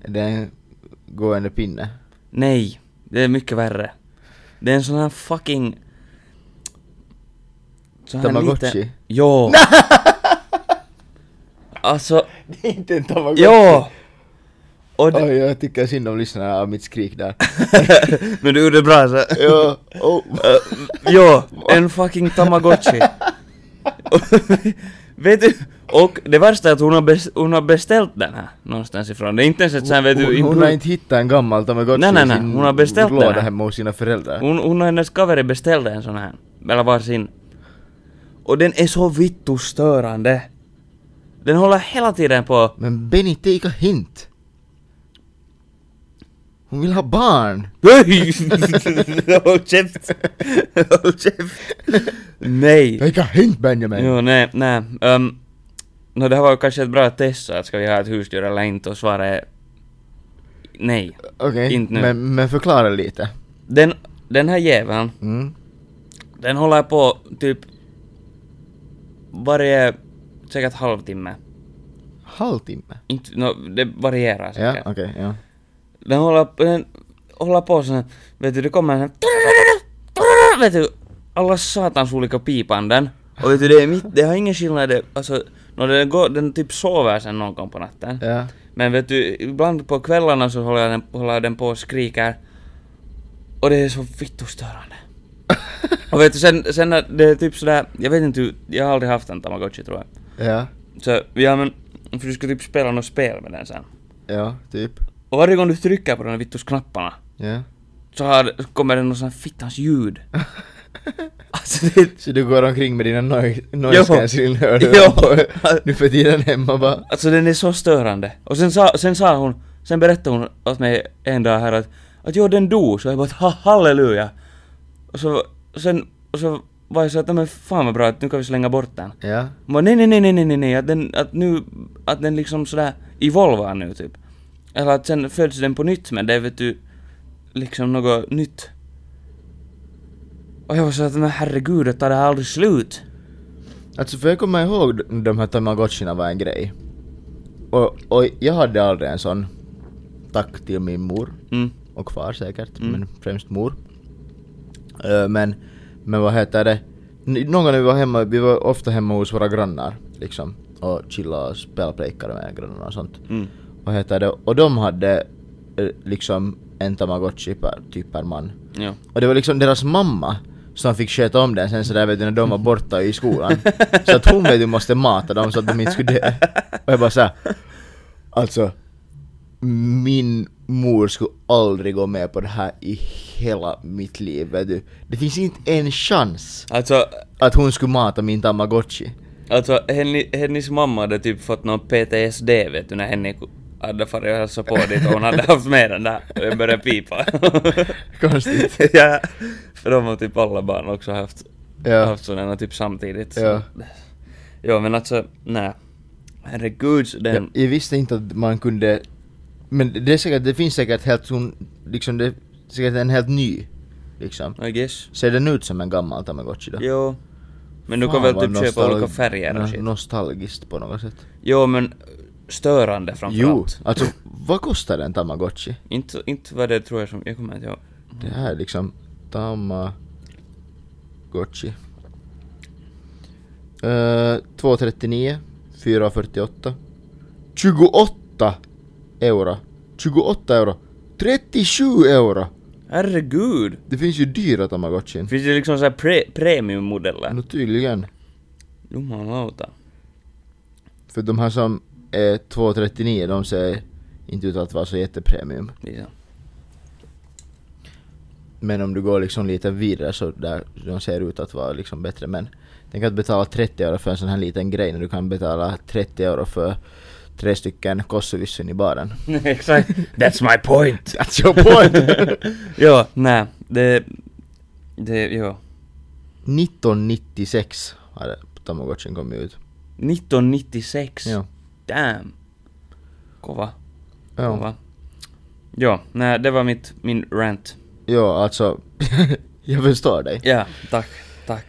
Speaker 2: Det är en gående pinne.
Speaker 3: Nej, det är mycket värre. Det är en sån här fucking... Sån
Speaker 2: Tamagotchi?
Speaker 3: Jo! alltså,
Speaker 2: Det är inte en tamagotchi.
Speaker 3: jo! Och det,
Speaker 2: Oj, jag tycker synd om lyssnarna av mitt skrik där.
Speaker 3: Men du gjorde bra så.
Speaker 2: ja, oh.
Speaker 3: jo, en fucking tamagotchi. Vet du, och det värsta är att hon har, bes- hon har beställt den här någonstans ifrån. Det är inte ens ett sånt här vet
Speaker 2: hon,
Speaker 3: du...
Speaker 2: hon har inte hittat en gammal tamagotchi
Speaker 3: Nej, nej, nej.
Speaker 2: i sin
Speaker 3: Hon har beställt den
Speaker 2: låda
Speaker 3: här.
Speaker 2: hemma hos sina föräldrar.
Speaker 3: hon, hon och hennes kaveri beställde en sån här. Eller varsin. Och den är så vittu störande. Den håller hela tiden på...
Speaker 2: Men Benny, take a hint! Hon vill ha barn!
Speaker 3: Nej! Håll käft! Håll käft! Nej!
Speaker 2: Take a hint Benjamin!
Speaker 3: Jo, nej, nej. Um, no, det här var ju kanske ett bra test så att ska vi ha ett husdjur eller inte och svaret är nej.
Speaker 2: Okej,
Speaker 3: Inte nu.
Speaker 2: men, men förklara lite.
Speaker 3: Den, den här jäveln,
Speaker 2: Mm.
Speaker 3: den håller på typ varje, säkert halvtimme.
Speaker 2: Halvtimme?
Speaker 3: Inte, no, det varierar
Speaker 2: Ja,
Speaker 3: säkert.
Speaker 2: okej, ja.
Speaker 3: Den håller, den håller på sån här, vet du, det kommer en sån här- vet du, alla satans olika pipanden. Och vet du, det är mitt, det har ingen skillnad, det, alltså, no, den, går, den typ sover sen någon gång på natten.
Speaker 2: Ja.
Speaker 3: Men vet du, ibland på kvällarna så håller den, håller den på och skriker. Och det är så vittu störande. och vet du, sen, sen när det är typ sådär, jag vet inte, hur- jag har aldrig haft en tamagotchi tror jag.
Speaker 2: Ja.
Speaker 3: Så, ja men, för du ska typ spela något spel med den sen.
Speaker 2: Ja, typ.
Speaker 3: Och varje gång du trycker på de här vittus knapparna
Speaker 2: Ja.
Speaker 3: så har, kommer det någon sån här fittans ljud. Alltså det...
Speaker 2: Så du går omkring med dina noi- noise
Speaker 3: Jo.
Speaker 2: cancelling-hörlurar på nu för tiden hemma bara.
Speaker 3: Alltså den är så störande. Och sen sa, sen sa hon, sen berättade hon åt mig en dag här att, att jo den dog, så jag bara ha, halleluja. Och så, sen, och så var jag så att "Nej, men fan vad bra att nu kan vi slänga bort den.
Speaker 2: Ja.
Speaker 3: Hon bara nej nej nej nej nej nej nej att den, att nu, att den liksom sådär i Volvo nu typ. Eller att sen föds den på nytt men det är vet du liksom något nytt. Och jag var så att men herregud det tar det här aldrig slut.
Speaker 2: Alltså för jag kommer ihåg d- de här tamagotchina var en grej. Och, och jag hade aldrig en sån. Tack till min mor.
Speaker 3: Mm.
Speaker 2: Och far säkert,
Speaker 3: Mm.
Speaker 2: men främst mor. Eh, men, men vad heter det? N- Någon gång när vi var hemma, vi var ofta hemma hos våra grannar liksom. Och chilla och spela plejkare med grannarna och sånt.
Speaker 3: Mm.
Speaker 2: Vad heter det? Och de hade eh, liksom en tamagotchi per, typ per man.
Speaker 3: Ja.
Speaker 2: Och det var liksom deras mamma som fick sköta om den sen sådär vet du när de var borta i skolan. Så att hon vet du måste mata dem så att de inte skulle dö. Och jag bara såhär. Alltså. Min mor skulle aldrig gå med på det här i hela mitt liv vet du. Det finns inte en chans
Speaker 3: Alltså
Speaker 2: att hon skulle mata min tamagotchi.
Speaker 3: Alltså Henny, Hennys mamma hade typ fått någon PTSD vet du när Henny ko- hade farit och hälsat på dit och hon hade haft med den där och den började pipa.
Speaker 2: Konstigt.
Speaker 3: ja, för de har typ alla barn också haft,
Speaker 2: Ja.
Speaker 3: haft sådana typ samtidigt. så-
Speaker 2: Ja.
Speaker 3: ja men alltså, nej. Herregud, så den...
Speaker 2: Jag, jag visste inte att man kunde... Men det, är säkert, det finns säkert helt sån, liksom det är säkert en helt ny liksom.
Speaker 3: I guess.
Speaker 2: Ser den ut som en gammal Tamagotchi då?
Speaker 3: Jo. Men du kan
Speaker 2: Fan,
Speaker 3: väl
Speaker 2: vad
Speaker 3: typ köpa
Speaker 2: nostal-
Speaker 3: olika färger
Speaker 2: no-
Speaker 3: och shit.
Speaker 2: Nostalgiskt på något sätt.
Speaker 3: Jo men eh, störande
Speaker 2: Jo,
Speaker 3: framförallt.
Speaker 2: alltså vad kostar en Tamagotchi?
Speaker 3: Inte, inte vad det tror jag som, jag kommer inte ihåg.
Speaker 2: Det här är liksom Tamagotchi. Uh, 239, 448, 28 euro, 28 euro, 37 euro!
Speaker 3: Herregud!
Speaker 2: Det finns ju dyra Tamagotchin.
Speaker 3: Finns det liksom såhär pre- premiummodeller?
Speaker 2: Nå tydligen.
Speaker 3: Jumalauta.
Speaker 2: För de här som är 2,39 de ser inte ut att vara så jättepremium.
Speaker 3: Liksom.
Speaker 2: Men om du går liksom lite vidare så där, de ser ut att vara liksom bättre. Men tänk att betala 30 euro för en sån här liten grej när du kan betala 30 euro för tre stycken kossuvissun i baren.
Speaker 3: Exakt. That's my point!
Speaker 2: That's your point!
Speaker 3: ja, nej. Det... Det, ja.
Speaker 2: 1996 hade Tamagotchin kommit ut.
Speaker 3: 1996.
Speaker 2: Ja.
Speaker 3: Damn. Kova.
Speaker 2: Ja,
Speaker 3: Kova. Ja, nej, det var mitt, min rant.
Speaker 2: ja alltså. jag förstår dig.
Speaker 3: Ja, tack, tack.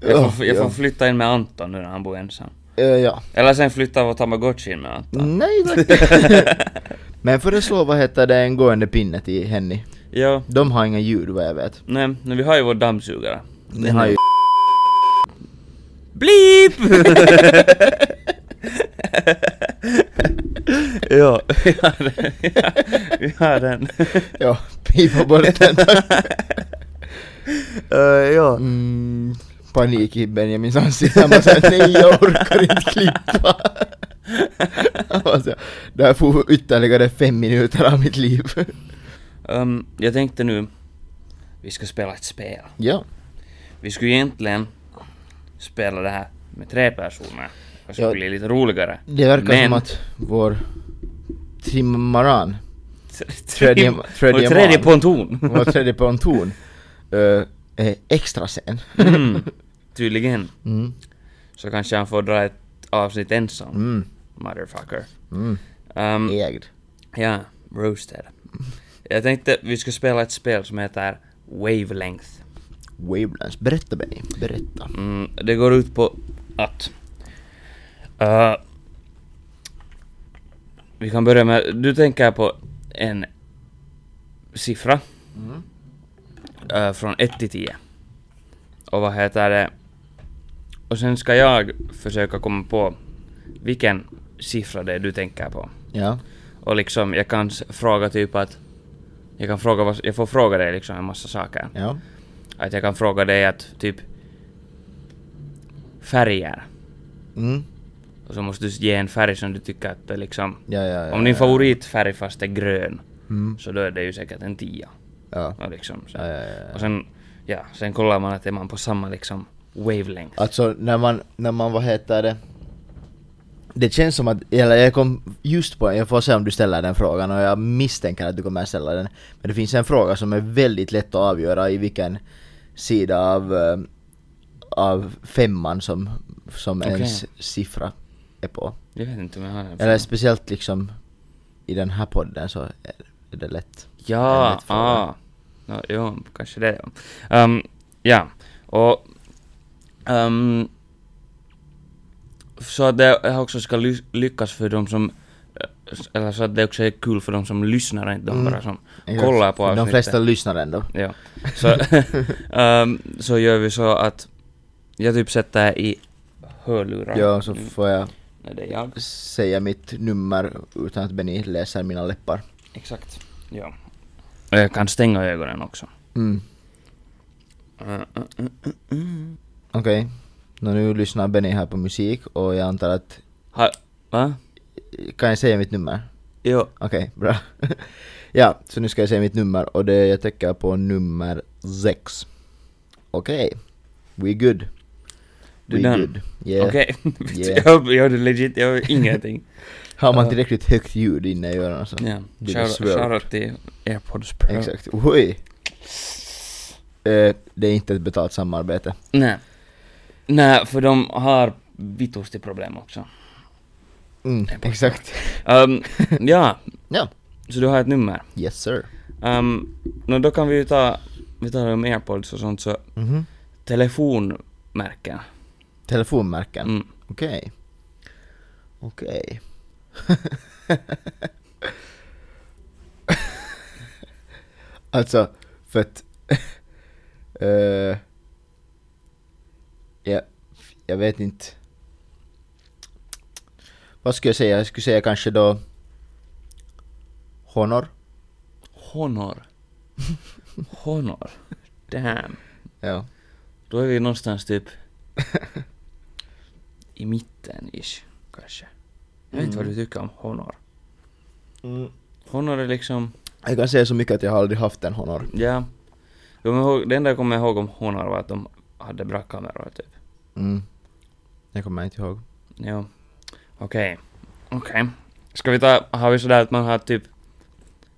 Speaker 2: Ja,
Speaker 3: Jag får, jag
Speaker 2: ja.
Speaker 3: får flytta in med Anton nu när han bor ensam.
Speaker 2: Eh, ja.
Speaker 3: Eller sen flytta vår tamagotchi in med Anton.
Speaker 2: Nej tack. Men föreslå vad heter det en gående pinne till Henny.
Speaker 3: Ja,
Speaker 2: De har inga ljud vad jag vet.
Speaker 3: nej, men vi har ju vår dammsugare.
Speaker 2: Ni har ju...
Speaker 3: Bleep! ja, vi har den. Vi har den.
Speaker 2: Ja, pipa bort den.
Speaker 3: ja.
Speaker 2: Mm, panik i Benjamins ansikte. Han bara såhär, nej jag orkar inte klippa. Han bara såhär, det här får ytterligare fem minuter av mitt liv.
Speaker 3: Um, jag tänkte nu, vi ska spela ett spel.
Speaker 2: Ja,
Speaker 3: Vi skulle egentligen spela det här med tre personer. Det
Speaker 2: Ja.
Speaker 3: skulle bli lite roligare.
Speaker 2: det verkar
Speaker 3: Men-
Speaker 2: som att vår trimaran,
Speaker 3: Tredje,
Speaker 2: Tredje- tredje
Speaker 3: och tredje
Speaker 2: man.
Speaker 3: ponton.
Speaker 2: vår tredje ponton, eh, är extra sen.
Speaker 3: Mm, tydligen.
Speaker 2: Mm,
Speaker 3: Så kanske han får dra ett avsnitt ensam.
Speaker 2: mm,
Speaker 3: Motherfucker.
Speaker 2: mm,
Speaker 3: Ehm,
Speaker 2: ägd.
Speaker 3: Ja, roasted. Jag tänkte vi ska spela ett spel som heter Wavelength.
Speaker 2: Wavelengths. Berätta Benny, berätta.
Speaker 3: Mm, det går ut på att... eh, vi kan börja med... Du tänker på en siffra
Speaker 2: Mm.
Speaker 3: eh, från 1 till 10. Och vad heter det? Och sen ska jag försöka komma på vilken siffra det är du tänker på.
Speaker 2: Ja.
Speaker 3: Och liksom, jag kan s- fråga typ att... Jag kan fråga vad, Jag får fråga dig liksom en massa saker.
Speaker 2: Ja.
Speaker 3: Att jag kan fråga dig att typ... Färger.
Speaker 2: Mm.
Speaker 3: Och så måste du ge en färg som du tycker att det liksom...
Speaker 2: Ja, ja, ja,
Speaker 3: om din
Speaker 2: ja.
Speaker 3: favoritfärg fast är grön,
Speaker 2: Mm.
Speaker 3: så då är det ju säkert en tia.
Speaker 2: Ja.
Speaker 3: Och liksom så.
Speaker 2: Ja, ja, ja, ja.
Speaker 3: Och sen Ja, sen kollar man att är man på samma liksom wavelength.
Speaker 2: Alltså när man, när man vad heter det? Det känns som att, eller jag kom just på, jag får se om du ställer den frågan och jag misstänker att du kommer att ställa den. Men det finns en fråga som är väldigt lätt att avgöra i vilken sida av, eh, av femman som, som
Speaker 3: Okej.
Speaker 2: ens siffra är på.
Speaker 3: Jag vet inte om jag har den.
Speaker 2: Eller speciellt liksom i den här podden så är det lätt.
Speaker 3: Ja,
Speaker 2: enligt frågan.
Speaker 3: ah. No, jo, kanske det. ja. Um, ja, och... Um, så att det här också ska ly- lyckas för de som... Eller så att det också är kul för de som lyssnar, inte de
Speaker 2: Mm.
Speaker 3: bara som kollar på
Speaker 2: De
Speaker 3: avsnittet.
Speaker 2: flesta lyssnar ändå.
Speaker 3: Ja. Så, ehm, så gör vi så att jag typ sätter i hörlurar.
Speaker 2: Ja, så får jag
Speaker 3: Nej, det är jag.
Speaker 2: säga mitt nummer utan att Benny läser mina läppar.
Speaker 3: Exakt. Ja. Och jag kan stänga ögonen också.
Speaker 2: Mm.
Speaker 3: Eh, eh, eh, eh, eh.
Speaker 2: Okej. Nå, nu lyssnar Benny här på musik och jag antar att...
Speaker 3: Ha, va?
Speaker 2: Kan jag säga mitt nummer?
Speaker 3: Jo.
Speaker 2: Okej, bra. ja, så nu ska jag säga mitt nummer och det jag tänker på nummer 6. Okej. We good.
Speaker 3: Du
Speaker 2: We
Speaker 3: done?
Speaker 2: good. Yeah.
Speaker 3: Okej.
Speaker 2: Yeah.
Speaker 3: jag, jag är legit, jag har ingenting.
Speaker 2: Har man tillräckligt högt ljud inne i öronen så...
Speaker 3: ja.
Speaker 2: Det är
Speaker 3: Shout-
Speaker 2: svårt.
Speaker 3: Shoutout till Airpods Pro.
Speaker 2: Exakt. Oj! Eh, det är inte ett betalt samarbete.
Speaker 3: Nej. Nej, för de har vitusti problem också.
Speaker 2: Mm, exakt.
Speaker 3: Ehm, ja,
Speaker 2: Ja.
Speaker 3: så du har ett nummer.
Speaker 2: Yes sir.
Speaker 3: Um, no, då kan vi ju ta, vi talar om airpods och sånt så,
Speaker 2: Mhm.
Speaker 3: telefonmärken.
Speaker 2: Telefonmärken.
Speaker 3: Mm.
Speaker 2: Okej. Okej. alltså, för att... eh, ja, jag vet inte. Vad skulle jag säga? Jag skulle säga kanske då... Honor.
Speaker 3: Honor. Honor. Damn.
Speaker 2: Ja.
Speaker 3: Då är vi någonstans typ i mitten ish, kanske. Jag vet inte vad du tycker om honor. Honor är liksom,
Speaker 2: Jag kan säga så mycket att jag har aldrig haft en honor.
Speaker 3: ja. Jag kommer ihåg, det enda jag kommer ihåg om honor var att de hade bra kameror typ.
Speaker 2: Mm. Det kommer jag inte ihåg.
Speaker 3: Jo. Okej. Okej. Ska vi ta, har vi sådär att man har typ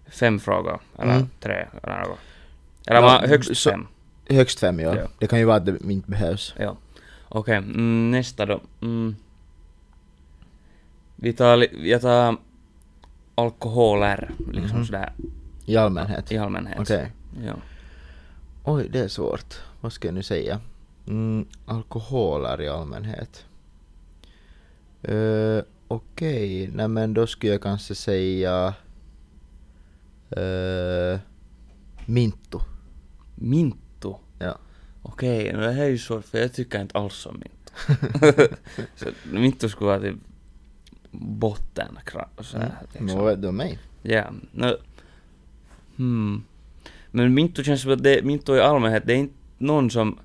Speaker 3: fem frågor? Eller
Speaker 2: Mm.
Speaker 3: tre eller något? Eller
Speaker 2: Ja,
Speaker 3: man, högst
Speaker 2: så-
Speaker 3: fem?
Speaker 2: Högst fem, ja.
Speaker 3: Ja.
Speaker 2: Det kan ju vara att det inte behövs.
Speaker 3: Ja. Okej, mm, nästa då. Mm. Vi tar, li- jag tar alkoholer, liksom
Speaker 2: Mhm.
Speaker 3: sådär
Speaker 2: I allmänhet.
Speaker 3: i allmänhet.
Speaker 2: Okej.
Speaker 3: Ja.
Speaker 2: Oj, det är svårt. Vad ska jag nu säga? Mm, alkoholer i allmänhet. Uh, Okej, nej men då skulle jag kanske säga... Uh, minto.
Speaker 3: Mintu.
Speaker 2: Ja.
Speaker 3: Okej, men det här är ju svårt för jag tycker inte alls om mintu. så mintu skulle vara typ botten. kra- Så här, liksom.
Speaker 2: Nå, vet du om mig?
Speaker 3: Ja, no. hmm. Men Mintu känns som att det, Mintu i allmänhet, det är inte någon som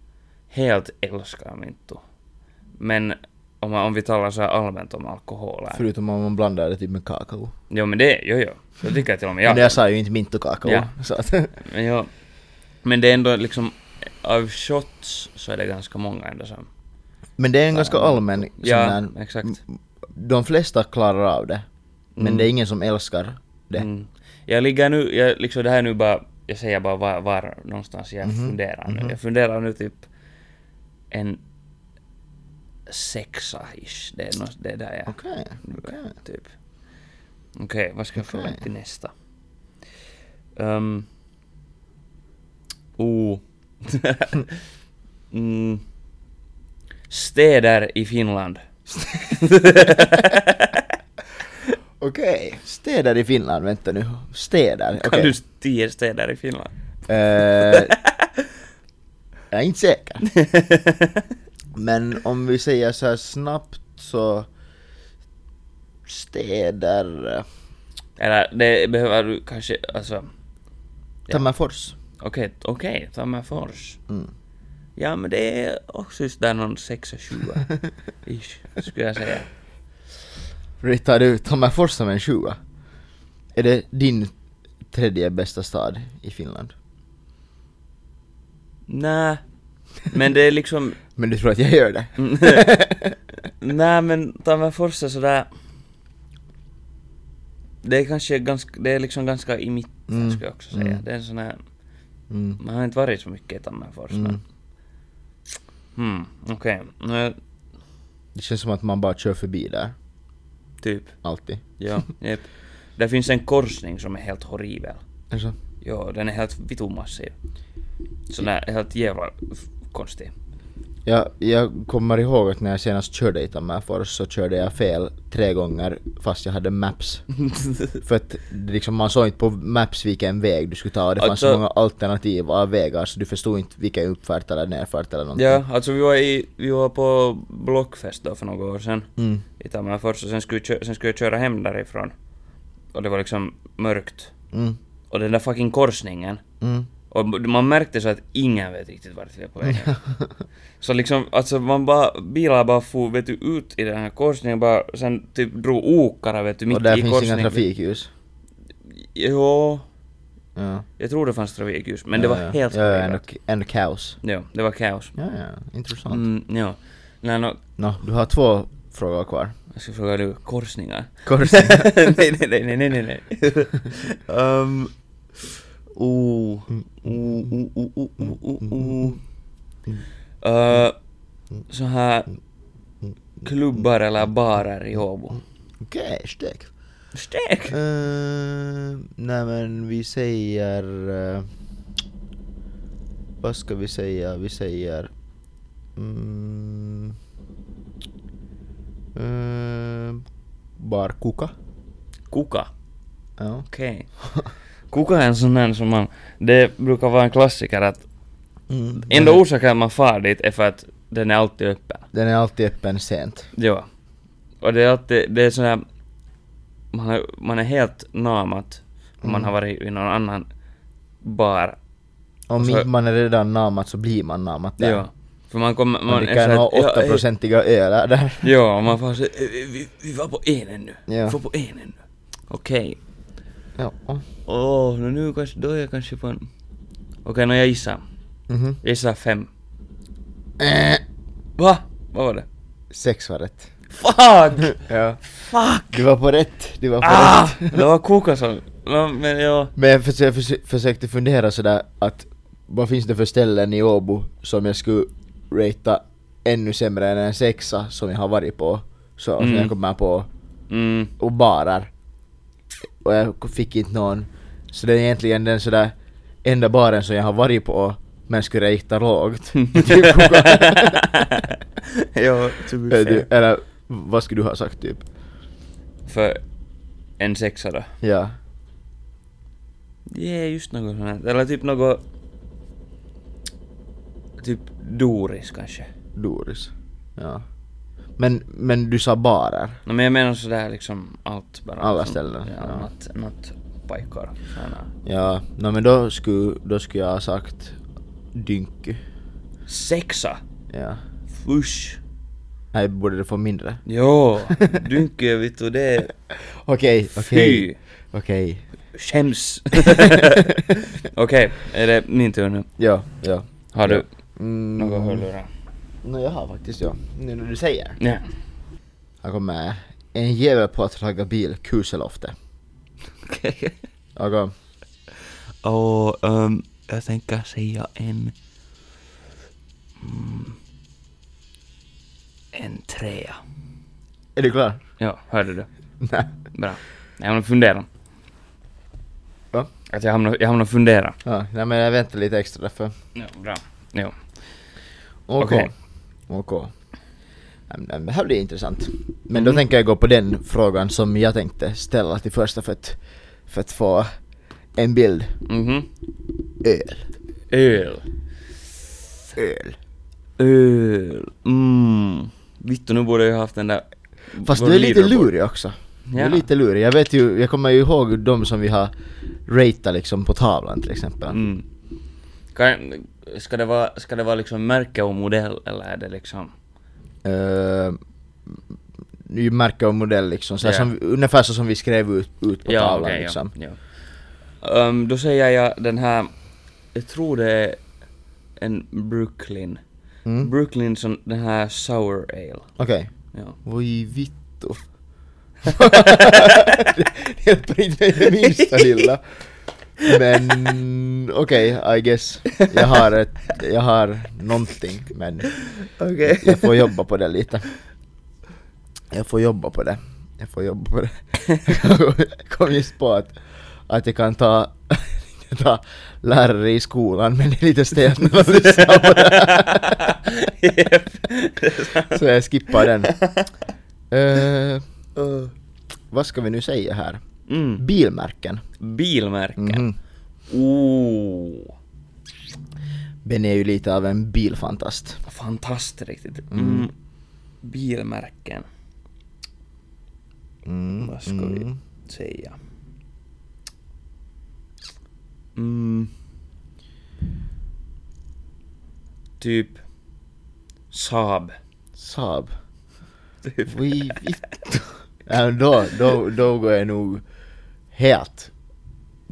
Speaker 3: helt älskar Mintu. Men om, man, om vi talar så här allmänt om alkohol. här.
Speaker 2: Förutom om man blandar det typ med kakao.
Speaker 3: Jo men det, jo jo. Det tycker jag till och med
Speaker 2: Men jag
Speaker 3: jag.
Speaker 2: sa ju inte mintokakao.
Speaker 3: Ja.
Speaker 2: Så att,
Speaker 3: Men, jo. men det är ändå liksom, av shots så är det ganska många ändå som...
Speaker 2: men det är en ganska allmän... sån
Speaker 3: Ja,
Speaker 2: här-
Speaker 3: exakt.
Speaker 2: De flesta klarar av det. Men
Speaker 3: Mm.
Speaker 2: det är ingen som älskar det.
Speaker 3: Mm. Jag ligger nu, jag, liksom det här är nu bara, jag säger bara var, var någonstans jag
Speaker 2: Mhm.
Speaker 3: funderar nu.
Speaker 2: Mhm.
Speaker 3: Jag funderar nu typ en sexa-ish. Det är, nå- det är där jag...
Speaker 2: Okej, okej.
Speaker 3: Typ. Okej, vad ska jag fråga
Speaker 2: Okej.
Speaker 3: till nästa? Um, oh. mm. Städer i Finland.
Speaker 2: Okej. Städer i Finland, vänta nu. Städer,
Speaker 3: Kan
Speaker 2: okej.
Speaker 3: du tio städer i Finland?
Speaker 2: Eh, jag är inte säker. Men om vi säger så här snabbt så... Städer... eh,
Speaker 3: Eller det behöver du kanske, alltså... Ja.
Speaker 2: Tammerfors.
Speaker 3: Okej, okej, Tammerfors.
Speaker 2: Mm.
Speaker 3: Ja men det är också just där någon 6 och 7 ish, skulle jag säga.
Speaker 2: Ritar du Tammerfors som en sjua? Är det din tredje bästa stad i Finland?
Speaker 3: Nej. Men det är liksom...
Speaker 2: Men du tror att jag gör det?
Speaker 3: Mm. Nej men Tammerfors är sådär... Det är kanske ganska, det är liksom ganska i mitten
Speaker 2: Mm,
Speaker 3: skulle jag också säga.
Speaker 2: mm.
Speaker 3: Det är en sån här,
Speaker 2: Mm.
Speaker 3: man har inte varit så mycket i Tammerfors
Speaker 2: Mm.
Speaker 3: men... Hmm, okej. Okay.
Speaker 2: Det känns som att man bara kör förbi där.
Speaker 3: Typ.
Speaker 2: Alltid.
Speaker 3: Ja, jep. Där finns en korsning som är helt horribel.
Speaker 2: Alltså,
Speaker 3: Ja, den är helt vitumassiv. Sån där helt jävla f- konstig.
Speaker 2: jag, jag kommer ihåg att när jag senast körde i Tammerfors så körde jag fel tre gånger fast jag hade maps.
Speaker 3: Mm.
Speaker 2: För att det liksom, man såg inte på maps vilken väg du skulle ta och det fanns så
Speaker 3: Alltså-
Speaker 2: många alternativa vägar så du förstod inte vilken uppfart eller nerfart eller någonting.
Speaker 3: ja, alltså vi var, i, vi var på Blockfest då för några år sedan.
Speaker 2: Mm.
Speaker 3: I Tammerfors och sen skulle, vi kö- sen skulle jag köra hem därifrån. Och det var liksom mörkt.
Speaker 2: Mm.
Speaker 3: Och den där fucking korsningen.
Speaker 2: Mm.
Speaker 3: Och b- man märkte så att ingen vet riktigt vart vi är på väg. så liksom, alltså man bara, bilar bara for vet du, ut i den här korsningen bara, sen typ drog åkare vet du, mitt
Speaker 2: Och där
Speaker 3: i
Speaker 2: finns inga
Speaker 3: korsningen.
Speaker 2: trafikljus.
Speaker 3: Jo,
Speaker 2: Ja.
Speaker 3: jag tror det fanns trafikljus, men det
Speaker 2: Ja,
Speaker 3: var
Speaker 2: ja.
Speaker 3: helt
Speaker 2: Ja, ja, ändå,
Speaker 3: förvirrat.
Speaker 2: ändå kaos.
Speaker 3: Ja, det var kaos.
Speaker 2: Ja, ja, intressant.
Speaker 3: Mm, ja. Nej, nå,
Speaker 2: Nå, du har två frågor kvar.
Speaker 3: jag ska fråga du, korsningar?
Speaker 2: Korsning.
Speaker 3: nej, nej, nej, nej, nej, nej, nej. um, oh, oh, oh, oh, oh, oh, oh, oh.
Speaker 2: Mm.
Speaker 3: Uh, så här
Speaker 2: Mm.
Speaker 3: klubbar eller barer i Håbo.
Speaker 2: Okej, stek. Eh.
Speaker 3: Stek!
Speaker 2: Uh, nej men vi säger... eh, vad ska vi säga? Vi säger... Mm, uh, bar Kuka.
Speaker 3: Kuka.
Speaker 2: Ja.
Speaker 3: Okej. Kuka är en sån där som man, det brukar vara en klassiker att
Speaker 2: Mm.
Speaker 3: enda orsaken att man far dit är för att den är alltid öppen.
Speaker 2: Den är alltid öppen sent.
Speaker 3: Ja. Och det är alltid, det är sån här, man, har, man är helt namat om man
Speaker 2: Mm.
Speaker 3: har varit i någon annan bar.
Speaker 2: Om
Speaker 3: Och så-
Speaker 2: inte man är redan namat så blir man namat där.
Speaker 3: Alltså- Ja. För man kommer, man,
Speaker 2: Man dricker
Speaker 3: så
Speaker 2: en
Speaker 3: här, ja, hej.
Speaker 2: 8-procentiga öl där.
Speaker 3: Ja, och man får så, vi, vi, vi var på en ännu.
Speaker 2: Ja.
Speaker 3: Vi var på en ännu. Okej.
Speaker 2: Ja.
Speaker 3: Åh, nå nu kanske, då är jag kanske på en... Okej, nå jag gissar.
Speaker 2: Mhm.
Speaker 3: Jag gissar fem. Eh.
Speaker 2: Äh,
Speaker 3: Va? Vad var det?
Speaker 2: Sex var rätt.
Speaker 3: Fuck!
Speaker 2: Ja.
Speaker 3: Fuck!
Speaker 2: Du var på rätt. Du var på
Speaker 3: Ah!
Speaker 2: rätt.
Speaker 3: Det var koka som... Nå, men ja...
Speaker 2: Men jag försö- försö- försökte fundera sådär att vad finns det för ställen i Åbo som jag skulle ratea ännu sämre än en sexa som jag har varit på. Så som
Speaker 3: Mm.
Speaker 2: jag kommer på.
Speaker 3: Mm.
Speaker 2: Och barar. Och jag fick inte någon. Så det är egentligen den sådär enda baren som jag har varit på men skulle ratea lågt. Typ,
Speaker 3: ja, to
Speaker 2: Eller du- Eller vad skulle du ha sagt typ?
Speaker 3: För en sexa då?
Speaker 2: Ja.
Speaker 3: Det är just något sånt här. Eller typ något... Typ Doris kanske.
Speaker 2: Doris. Ja. Men, men du sa barer.
Speaker 3: No, men jag menar sådär liksom allt bara.
Speaker 2: Alla
Speaker 3: liksom,
Speaker 2: ställen,
Speaker 3: Ja,
Speaker 2: ja.
Speaker 3: Något, något pojkar. Såna.
Speaker 2: Ja, no, men då skulle, då skulle jag ha sagt Dynky.
Speaker 3: Sexa!
Speaker 2: Ja.
Speaker 3: Fush!
Speaker 2: Nej, borde det få mindre?
Speaker 3: Jo! Dynke vet du det är...
Speaker 2: Okej, okej. Okej.
Speaker 3: Skäms! Okej, är det min tur nu?
Speaker 2: Ja, ja.
Speaker 3: Har du
Speaker 2: Mm.
Speaker 3: några hörlurar?
Speaker 2: Nå, jag har faktiskt ja. Nu när du säger.
Speaker 3: Ja.
Speaker 2: Här kommer En jävel på att ragga bil, Kuselofte.
Speaker 3: Okej.
Speaker 2: Okej.
Speaker 3: Och ehm, jag tänker säga en... Mm, en trea.
Speaker 2: Är du klar?
Speaker 3: Ja, hörde du?
Speaker 2: Nej.
Speaker 3: Bra. Jag hamnade fundera.
Speaker 2: Va?
Speaker 3: Att jag hamnade, jag hamnade fundera.
Speaker 2: Ja, nej men jag väntar lite extra därför.
Speaker 3: Ja, bra. Jo.
Speaker 2: Okej.
Speaker 3: Okej.
Speaker 2: Okej. Ja, men Det här blir intressant. Men
Speaker 3: Mm.
Speaker 2: då tänker jag gå på den frågan som jag tänkte ställa till första för att, för att få en bild.
Speaker 3: Mhm.
Speaker 2: Öl.
Speaker 3: Öl.
Speaker 2: Öl.
Speaker 3: Öl. Mm. Vittu, nu borde jag haft den där...
Speaker 2: Fast
Speaker 3: vår
Speaker 2: du är lite
Speaker 3: leaderboard.
Speaker 2: lurig också. Du
Speaker 3: Ja.
Speaker 2: är lite lurig. Jag vet ju, jag kommer ju ihåg de som vi har ratat liksom på tavlan till exempel.
Speaker 3: Mm. Kan, ska, det vara, ska det vara liksom märke och modell eller är det liksom...
Speaker 2: Eh, ju märke och modell liksom, så här
Speaker 3: Ja.
Speaker 2: som, ungefär så som vi skrev ut, ut på tavlan
Speaker 3: okej,
Speaker 2: liksom.
Speaker 3: Ja, ja. Ehm, då säger jag den här, jag tror det är en Brooklyn.
Speaker 2: Mm.
Speaker 3: Brooklyn som den här sour ale.
Speaker 2: Okej.
Speaker 3: Ja.
Speaker 2: Voi vittu. det hjälper inte mig det minsta lilla. Men okej, I guess. Jag har, ett, jag har någonting men
Speaker 3: Okej.
Speaker 2: jag får jobba på det lite. Jag får jobba på det. Jag får jobba på det. Jag kom just på att, att jag kan ta, ta lärare i skolan men det är lite stelt när man lyssnar på
Speaker 3: Japp.
Speaker 2: det. Så jag skippar den. Eh,
Speaker 3: Uh.
Speaker 2: vad ska vi nu säga här?
Speaker 3: Mm.
Speaker 2: Bilmärken.
Speaker 3: Bilmärken.
Speaker 2: Mhm.
Speaker 3: Ooh.
Speaker 2: Ben är ju lite av en bilfantast.
Speaker 3: Fantastiskt riktigt. Mm. Bilmärken.
Speaker 2: Mm,
Speaker 3: Vad ska
Speaker 2: mm.
Speaker 3: vi säga? Mm. Typ Saab.
Speaker 2: Saab.
Speaker 3: Typ.
Speaker 2: Vi vittu. Ja, men då, då, då går jag nog helt...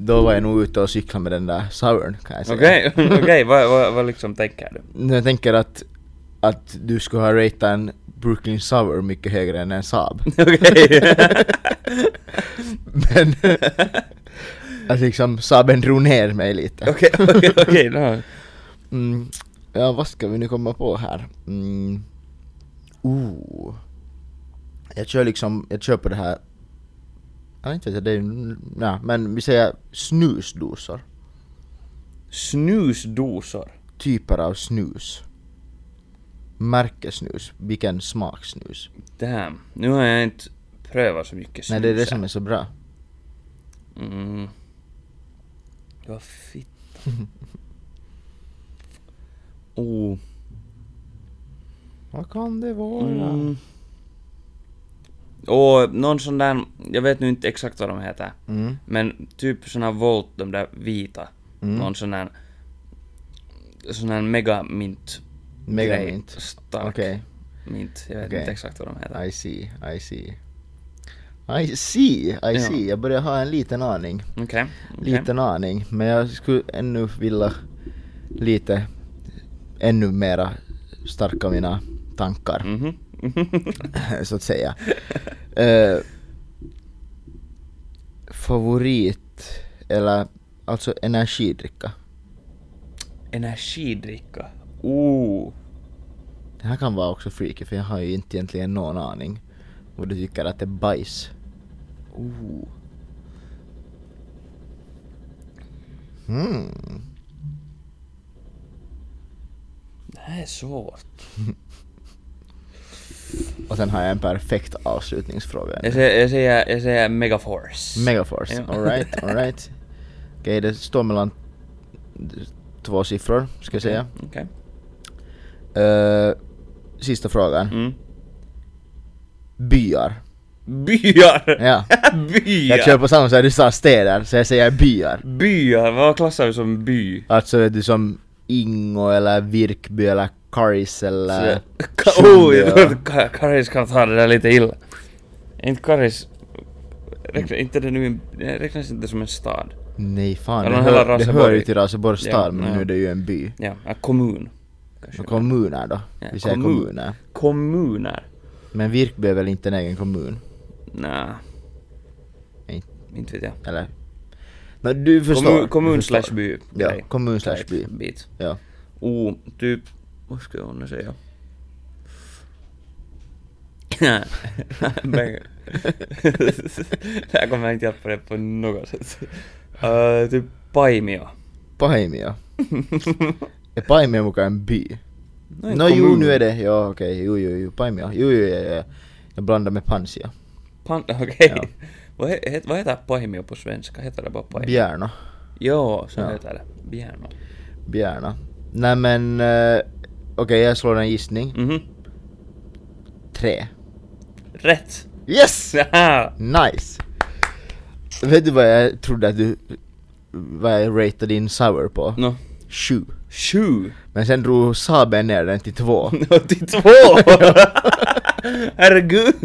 Speaker 2: Då var jag nog ute och cyklade med den där Saurn kan jag säga.
Speaker 3: Okej, okej, vad, vad, vad liksom tänker du?
Speaker 2: Jag tänker att, att du skulle ha ratat en Brooklyn Sour mycket högre än en Saab.
Speaker 3: Okej.
Speaker 2: Men... att liksom Saaben drog ner mig lite.
Speaker 3: Okej, okej, okej, no.
Speaker 2: Mm. Ja, vad ska vi nu komma på här? Mm. Ooh. Jag kör liksom, jag kör på det här... Jag vet inte, vet jag, det är ju... Ja, men vi säger snusdosor.
Speaker 3: Snusdosor.
Speaker 2: Typer av snus. Märkesnus. Vilken smaksnus.
Speaker 3: Damn. Nu har jag inte prövat så mycket snus.
Speaker 2: Nej, det är det som är så bra.
Speaker 3: Mm. Vad fitta. oh.
Speaker 2: Vad kan det vara?
Speaker 3: Mm. Och någon sån där, jag vet nu inte exakt vad de heter,
Speaker 2: Mm.
Speaker 3: men typ såna här Volt, de där vita.
Speaker 2: Mm.
Speaker 3: Någon sån där, sån här megamint.
Speaker 2: Megamint.
Speaker 3: grej. Stark
Speaker 2: Okej,
Speaker 3: mint, jag vet
Speaker 2: Okej.
Speaker 3: inte exakt vad de heter.
Speaker 2: I see, I see. I see, I
Speaker 3: Ja.
Speaker 2: see. Jag börjar ha en liten aning.
Speaker 3: Okej. okej.
Speaker 2: liten aning, men jag skulle ännu vilja lite ännu mera stärka mina tankar,
Speaker 3: Mhm. Mm.
Speaker 2: så att säga. Eh, favorit, eller alltså energidricka.
Speaker 3: Energidricka. Oh.
Speaker 2: Det här kan vara också freaky, för jag har ju inte egentligen någon aning vad du tycker att det är bajs.
Speaker 3: Oh.
Speaker 2: Mm.
Speaker 3: Det här är svårt.
Speaker 2: Och sen har jag en perfekt avslutningsfråga.
Speaker 3: Jag säger, jag säger, jag säger megaforce.
Speaker 2: Megaforce,
Speaker 3: Ja.
Speaker 2: alright, alright. Okej, det står mellan två siffror, ska jag säga.
Speaker 3: Mm, Okej.
Speaker 2: Eh, sista frågan.
Speaker 3: Mm.
Speaker 2: Byar.
Speaker 3: Byar!
Speaker 2: Ja.
Speaker 3: byar!
Speaker 2: Jag kör på samma sätt, du sa städer, så jag säger byar.
Speaker 3: Byar, vad klassar vi som by?
Speaker 2: Alltså vet du som Ingo eller Virkby eller Karis eller...
Speaker 3: Så- Oh, jag
Speaker 2: Sundö.
Speaker 3: tror att Ka- Karis kan ta det där lite illa. Inte Karis... Räknas inte det nu en- det räknas inte som en stad?
Speaker 2: Nej fan,
Speaker 3: Eller
Speaker 2: det hör,
Speaker 3: hela
Speaker 2: det hör ju
Speaker 3: Raseborg.
Speaker 2: till Raseborgs
Speaker 3: Ja,
Speaker 2: stad men
Speaker 3: ja.
Speaker 2: nu är det ju en by.
Speaker 3: Ja, en kommun. Kanske.
Speaker 2: Och kommuner då?
Speaker 3: Ja,
Speaker 2: Vi säger
Speaker 3: kommun.
Speaker 2: kommuner.
Speaker 3: Kommuner?
Speaker 2: Men Virkby är väl inte en egen kommun?
Speaker 3: Nä,
Speaker 2: Nej,
Speaker 3: inte vet jag.
Speaker 2: Eller? Men du förstår.
Speaker 3: Kommun, kommun
Speaker 2: du förstår.
Speaker 3: slash by.
Speaker 2: Ja,
Speaker 3: Nej,
Speaker 2: kommun slash by.
Speaker 3: type Bit.
Speaker 2: Ja.
Speaker 3: Oh, typ... Vad ska jag nu säga? Men- det här kommer jag inte hjälpa dig på något sätt. Eh, typ Paimio.
Speaker 2: Paimio. Är Paimio mukaan en by?
Speaker 3: en
Speaker 2: No, jo
Speaker 3: kommun.
Speaker 2: nu är det, ja okej, jo jo jo, Paimio, jo jo jo, jo. Jag blandar med Pansia.
Speaker 3: Pan- Okej.
Speaker 2: Ja.
Speaker 3: Vad, he- het- vad heter Paimio på svenska? Heter det bara Paimio?
Speaker 2: Bjärna.
Speaker 3: Jo, så
Speaker 2: Ja.
Speaker 3: heter det. Bjärno.
Speaker 2: Bjärna. Nej men, eh, okej jag slår en gissning.
Speaker 3: Mhm.
Speaker 2: Tre.
Speaker 3: Rätt!
Speaker 2: Yes!
Speaker 3: Haha.
Speaker 2: Nice! Vet du vad jag trodde att du, vad jag ratade din sour på?
Speaker 3: Nå,
Speaker 2: Sju.
Speaker 3: sju!
Speaker 2: Men sen drog Saben ner den till två.
Speaker 3: 82! Herregud!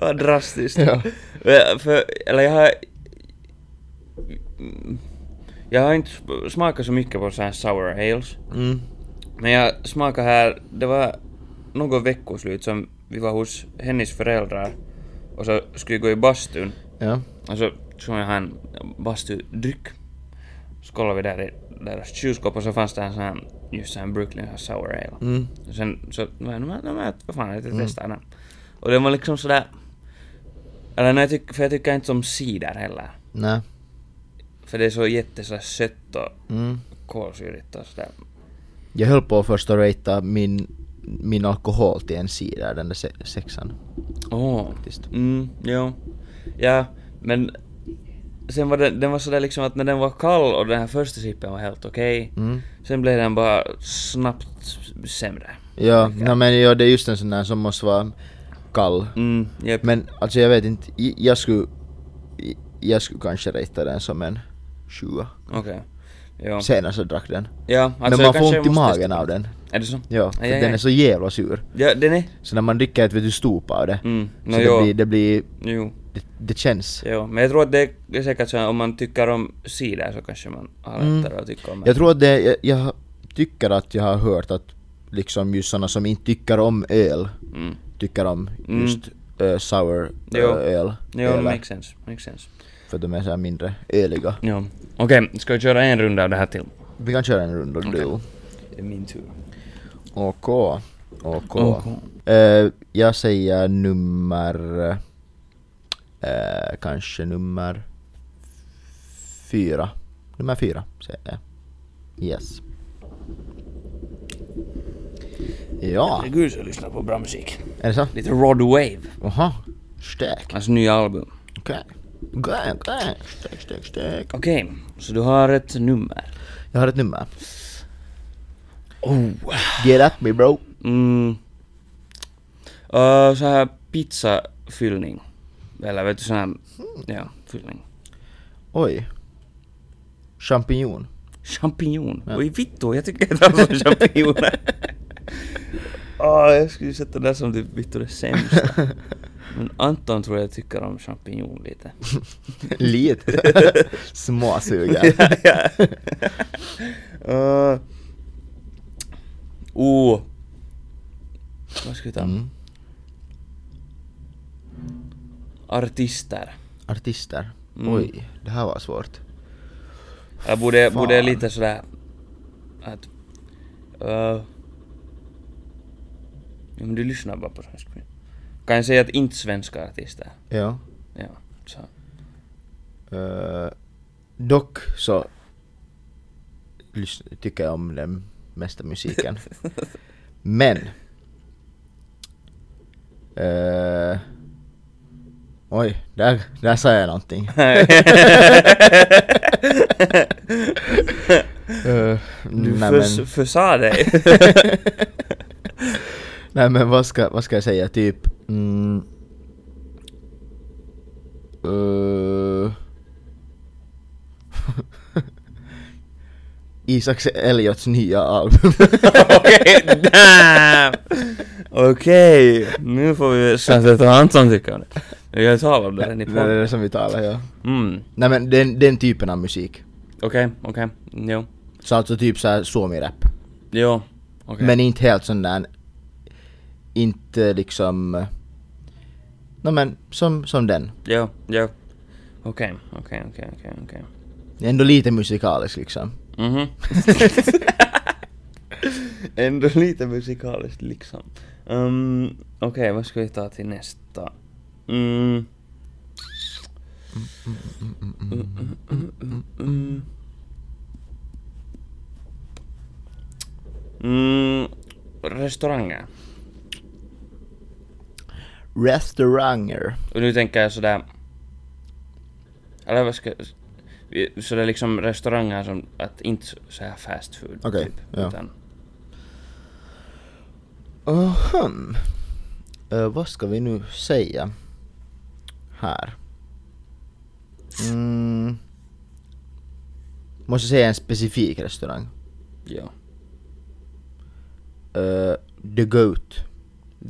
Speaker 3: Vad drastiskt.
Speaker 2: Ja.
Speaker 3: Eh, För, eller jag har... Mm. Jag har inte sp- smakat så mycket på så här sour ales.
Speaker 2: Mm.
Speaker 3: Men jag smakade här, det var något veckoslut som vi var hos hennes föräldrar och så skulle vi gå i bastun
Speaker 2: Ja.
Speaker 3: och så skulle jag ha en bastudryck. Så kollade vi där i deras kylskåp och så fanns det en sån här, just en Brooklyn här Sour Ale.
Speaker 2: Mm.
Speaker 3: Och sen så var jag, "Nå, men- nå, men vad fan, jag testar den. Och den var liksom sådär, eller nej, jag tyck, för jag tycker inte om cider heller.
Speaker 2: Nej.
Speaker 3: För det är så jätte sådär sött och
Speaker 2: Mm.
Speaker 3: kolsyrigt och sådär.
Speaker 2: Jag höll på först att ratea min, min alkohol till en sida, den där se- sexan.
Speaker 3: Åh.
Speaker 2: Faktiskt.
Speaker 3: Mm, jo. Ja, men sen var den, den var sådär liksom att när den var kall och den här första sippen var helt okej.
Speaker 2: Mm.
Speaker 3: Sen blev den bara snabbt sämre.
Speaker 2: Ja, no, men ja, det är just en sån där som måste vara kall.
Speaker 3: Mm, japp.
Speaker 2: Men alltså jag vet inte, i- jag skulle, i- jag skulle kanske ratea den som en sjua.
Speaker 3: Okej. Jo.
Speaker 2: Senast jag drack den.
Speaker 3: Ja, alltså
Speaker 2: men man
Speaker 3: jag
Speaker 2: får
Speaker 3: kanske
Speaker 2: ont i
Speaker 3: måste
Speaker 2: magen
Speaker 3: testa.
Speaker 2: av den.
Speaker 3: Är det så?
Speaker 2: Ja, för
Speaker 3: Aj, aj,
Speaker 2: den
Speaker 3: aj.
Speaker 2: är så jävla sur.
Speaker 3: Ja, den är...
Speaker 2: Så när man dricker ett vet du stop av det.
Speaker 3: Mm,
Speaker 2: så
Speaker 3: no,
Speaker 2: det
Speaker 3: jo.
Speaker 2: blir, det blir,
Speaker 3: Jo.
Speaker 2: det, det känns.
Speaker 3: Jo, men jag tror att det är säkert så här, om man tycker om cider så kanske man har
Speaker 2: Mm.
Speaker 3: lättare att tycka om det.
Speaker 2: Jag tror att det, jag, jag tycker att jag har hört att liksom just såna som inte tycker om öl
Speaker 3: Mm.
Speaker 2: tycker om
Speaker 3: Mm.
Speaker 2: just ö, sour ö,
Speaker 3: Jo.
Speaker 2: öl.
Speaker 3: Jo, det
Speaker 2: öler.
Speaker 3: makes sense. Makes sense.
Speaker 2: För de är så här mindre öliga.
Speaker 3: Jo. Okej, ska vi köra en runda av det här till?
Speaker 2: Vi kan köra en runda okay. du.
Speaker 3: Min tur.
Speaker 2: OK. OK. Eh, jag säger nummer... eh, kanske nummer... Fyra. Nummer fyra säger jag. Yes. Ja,
Speaker 3: Herregud, så jag lyssnar på bra musik.
Speaker 2: är det så?
Speaker 3: Ah. Lite Rod Wave.
Speaker 2: Jaha. Stek.
Speaker 3: Hans nya album.
Speaker 2: Okej. Okej, okej. Stek, stek, stek.
Speaker 3: Okej, så du har ett nummer.
Speaker 2: Jag har ett nummer.
Speaker 3: Oh.
Speaker 2: Get at me bro.
Speaker 3: Mm. Uh, så här pizzafyllning. Eller vet du sån här... Ja, fyllning.
Speaker 2: Oj. Champinjon.
Speaker 3: Champinjon.
Speaker 2: Ja.
Speaker 3: Oj vittu, jag tycker inte alls om champinjoner. Åh, jag skulle ju sätta det som typ vittu det sämsta. Men Anton tror jag tycker om champinjon lite.
Speaker 2: Lite. Småsugare.
Speaker 3: ja, ja. Uh, oh. Vad ska vi ta?
Speaker 2: Mm.
Speaker 3: Artister.
Speaker 2: Artister.
Speaker 3: Mm.
Speaker 2: Oj, det här var svårt.
Speaker 3: Jag borde,
Speaker 2: Fan.
Speaker 3: borde lite sådär att... Uh, ja, men du lyssnar bara på svensk musik. Kan jag säga att inte svenska artister?
Speaker 2: Ja.
Speaker 3: Ja, så.
Speaker 2: Eh, dock så lys- tycker jag om den mesta musiken. Men. eh, oj, där, där sa jag någonting. Eh,
Speaker 3: Du
Speaker 2: nej,
Speaker 3: förs-
Speaker 2: men,
Speaker 3: försa dig.
Speaker 2: nej men vad ska, vad ska jag säga? Typ... Mm, Eh, Isaks Elliots nya album.
Speaker 3: Okej, damn! Okej, nu får vi sätta ett Anton tycker om det. Vi har talat om det redan i
Speaker 2: det är
Speaker 3: podden.
Speaker 2: det som vi talar ja.
Speaker 3: Mm,
Speaker 2: Nej men den, den typen av musik.
Speaker 3: okej, okej, jo,
Speaker 2: Så alltså typ såhär suomi-rap.
Speaker 3: jo, okej.
Speaker 2: Men inte helt sån där... Inte liksom... eh, Nej men som, som den.
Speaker 3: Jo, jo. Okej, okej, okej, okej, okej.
Speaker 2: Ändå lite musikalisk liksom.
Speaker 3: Mhm. Ändå lite musikaliskt liksom. Um, okej, vad ska vi ta till nästa? Mm. Mm, mm, mm, mm, mm. Mm, restauranger.
Speaker 2: Restauranger.
Speaker 3: Och nu tänker jag sådär... Eller vad ska vi- Sådär liksom restauranger som... Att inte såhär fast food.
Speaker 2: Okej,
Speaker 3: typ,
Speaker 2: ja.
Speaker 3: Utan,
Speaker 2: Ahem. Eh, vad ska vi nu säga? Här. Mm. Måste säga en specifik restaurang.
Speaker 3: ja.
Speaker 2: Eh, The Goat.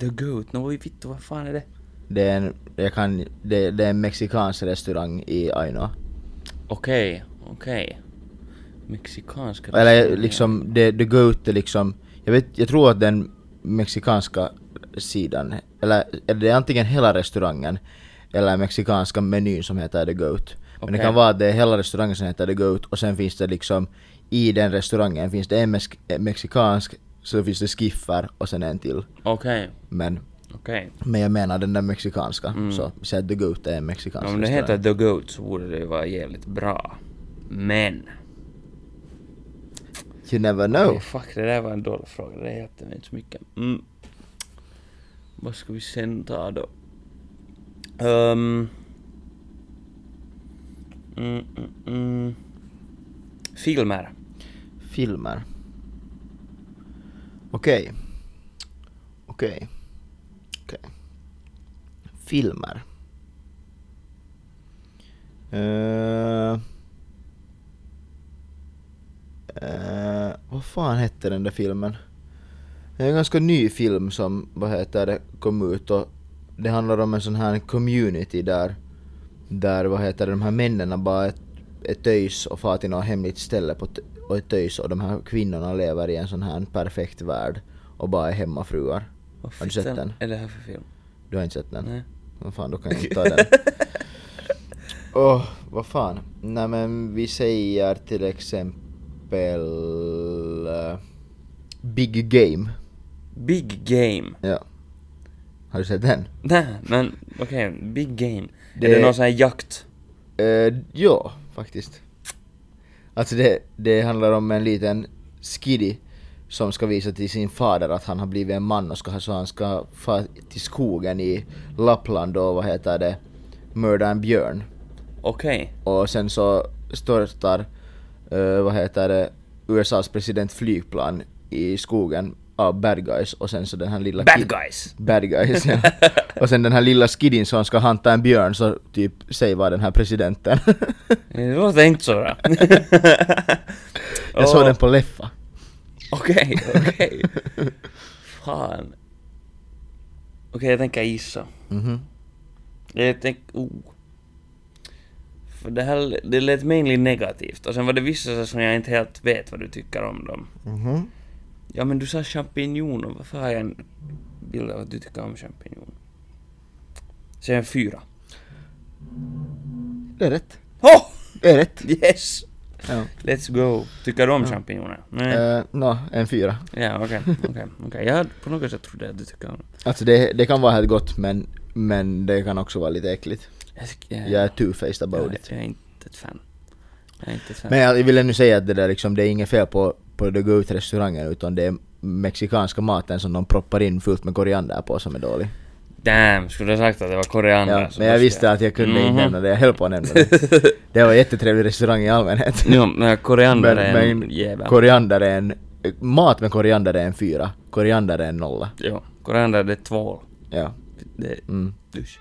Speaker 3: The Goat, no oj vittu vad fan är det?
Speaker 2: Det är en, jag kan, det, det är en mexikansk restaurang i Ainoa.
Speaker 3: Okej, okej. Mexikanska
Speaker 2: Eller liksom, det, det går ut till liksom, jag, vet, jag tror att den mexikanska sidan, eller är det antingen hela restaurangen eller mexikanska menyn som heter The Goat. Men det
Speaker 3: Okej.
Speaker 2: kan vara att det är hela restaurangen som heter The Goat och sen finns det liksom i den restaurangen finns det en mex- eh, mexikansk, så finns det skiffer och sen en till.
Speaker 3: Okej,
Speaker 2: Men,
Speaker 3: okej.
Speaker 2: men jag menar den där mexikanska. Så säg att The Goat är en mexikansk
Speaker 3: Mm. Ja, Om det
Speaker 2: restaurang.
Speaker 3: heter The Goat så borde det ju vara jävligt bra. Men...
Speaker 2: You never know.
Speaker 3: Oj, fuck, det där var en dålig fråga. Det hjälpte mig inte så mycket. Mm. Vad ska vi sen ta då? Ehm. mm, mm, mm. Filmer.
Speaker 2: Filmer. Okej. Okej. Okej. Filmer. Eh. Eh, vad fan hette den där filmen? Det är en ganska ny film som, vad heter det, kom ut och det handlar om en sån här community där, där vad heter det, de här männen bara är, är töjs och far till något hemligt ställe på t- och är töjs och de här kvinnorna lever i en sån här perfekt värld och bara är hemmafruar.
Speaker 3: Vad
Speaker 2: Har du sett
Speaker 3: fittan
Speaker 2: den?
Speaker 3: är det här för film?
Speaker 2: Du har inte sett den?
Speaker 3: Nej.
Speaker 2: Vad fan, då kan jag inte ta den. Åh, vad fan. Nej men vi säger till exempel... eh, Big Game.
Speaker 3: Big Game.
Speaker 2: Ja. Har du sett den?
Speaker 3: Nej, men okej. big Game.
Speaker 2: Det-
Speaker 3: Är det någon sån här jakt?
Speaker 2: Eh, ja, faktiskt. Alltså det, det handlar om en liten skiddy som ska visa till sin fader att han har blivit en man och ska, så han ska få till skogen i Lappland och vad heter det, mörda en björn.
Speaker 3: Okej.
Speaker 2: och sen så störtar, eh, vad heter det, USAs president flygplan i skogen av bad guys och sen så den här lilla...
Speaker 3: Bad
Speaker 2: kid-
Speaker 3: guys!
Speaker 2: Bad guys, ja. Och sen den här lilla skidin som ska hanta en björn så typ, säg vad den här presidenten.
Speaker 3: Eh, Det låter inte så bra.
Speaker 2: Jag såg
Speaker 3: Åh.
Speaker 2: den på Leffa.
Speaker 3: Okej, okej. Fan. Okej, jag tänker gissa.
Speaker 2: Mhm.
Speaker 3: Jag tänker... Oh. För det här det lät mainly negativt och sen var det vissa saker som jag inte helt vet vad du tycker om dem.
Speaker 2: Mhm.
Speaker 3: Ja men du sa champinjon och varför har jag en bild av att du tycker om champinjon? Så jag är en fyra.
Speaker 2: Det är rätt.
Speaker 3: Oh!
Speaker 2: Det är rätt.
Speaker 3: Yes!
Speaker 2: Ja.
Speaker 3: Let's go! Tycker du om champinjoner? Nej.
Speaker 2: Eh, Nå, en fyra.
Speaker 3: Ja okej, okej, okej. Jag hade på något sätt trodde att du tycker om dem.
Speaker 2: Alltså det, det kan vara helt gott men, men det kan också vara lite äckligt.
Speaker 3: Jag tycker-
Speaker 2: Jag är two-faced about it.
Speaker 3: Jag, jag är inte ett fan. Jag är inte ett fan.
Speaker 2: Men jag ville nu säga att det där liksom, det är inget fel på, på The Goat restaurangen utan det är mexikanska maten som de proppar in fullt med koriander på som är dålig.
Speaker 3: Damn, skulle du ha sagt att det var koreaner?
Speaker 2: Ja,
Speaker 3: så
Speaker 2: men jag
Speaker 3: måste
Speaker 2: visste att jag kunde
Speaker 3: alltså, Mhm.
Speaker 2: inte nämna det, jag höll på att nämna det. Det var en jättetrevlig restaurang i allmänhet.
Speaker 3: Jo, men koreaner
Speaker 2: Men,
Speaker 3: är en
Speaker 2: men
Speaker 3: jävel.
Speaker 2: koriander är en... Mat med koriander är en fyra, koriander är en nolla.
Speaker 3: jo, koreaner det är tvål.
Speaker 2: Ja.
Speaker 3: Det
Speaker 2: Mm.
Speaker 3: dusch.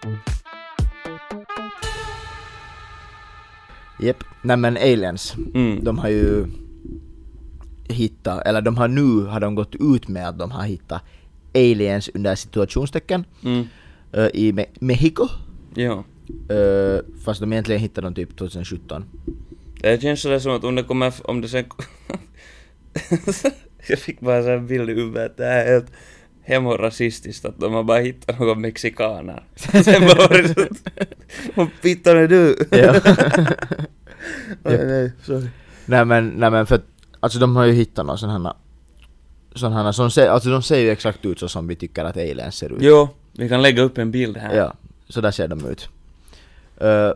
Speaker 2: Jep. Nej men aliens,
Speaker 3: Mm.
Speaker 2: de har ju hittat, eller de har nu har de gått ut med att de har hittat aliens under situationstecken
Speaker 3: Mm.
Speaker 2: eh, i Me- Mexiko.
Speaker 3: Jo.
Speaker 2: Eh, fast de egentligen hittade dem typ 2017.
Speaker 3: Det känns sådär som att om det kommer, f- om det sen... jag fick bara så här bild i huvudet att det här är helt hemorasistiskt att de har bara hittat några mexikaner. Sen bara var det så... Vad pittan är du?
Speaker 2: Ja.
Speaker 3: Nej, nej, sorry.
Speaker 2: nej men, nej men för att, alltså de har ju hittat några sådana sådana som ser, alltså de ser ju exakt ut så som vi tycker att aliens ser ut.
Speaker 3: Jo, vi kan lägga upp en bild här.
Speaker 2: Ja, så där ser de ut. Eh,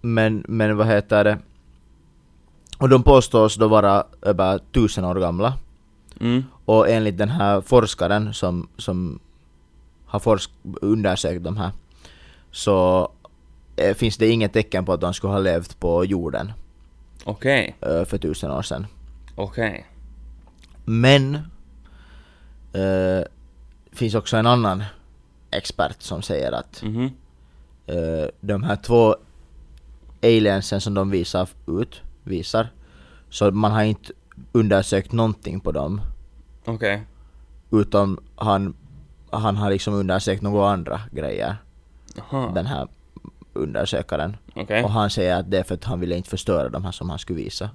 Speaker 2: men, men vad heter det? Och de påstås då vara över tusen år gamla.
Speaker 3: Mm.
Speaker 2: Och enligt den här forskaren som, som har forsk- undersökt de här så eh, finns det inget tecken på att de skulle ha levt på jorden
Speaker 3: Okej,
Speaker 2: eh, för tusen år sedan.
Speaker 3: okej.
Speaker 2: Men eh, finns också en annan expert som säger att
Speaker 3: Mhm.
Speaker 2: eh, de här två aliensen som de visar ut, visar, så man har inte undersökt någonting på dem
Speaker 3: Okej.
Speaker 2: utom han, han har liksom undersökt några andra grejer,
Speaker 3: Jaha.
Speaker 2: den här undersökaren.
Speaker 3: Okej.
Speaker 2: Och han säger att det är för att han ville inte förstöra de här som han skulle visa.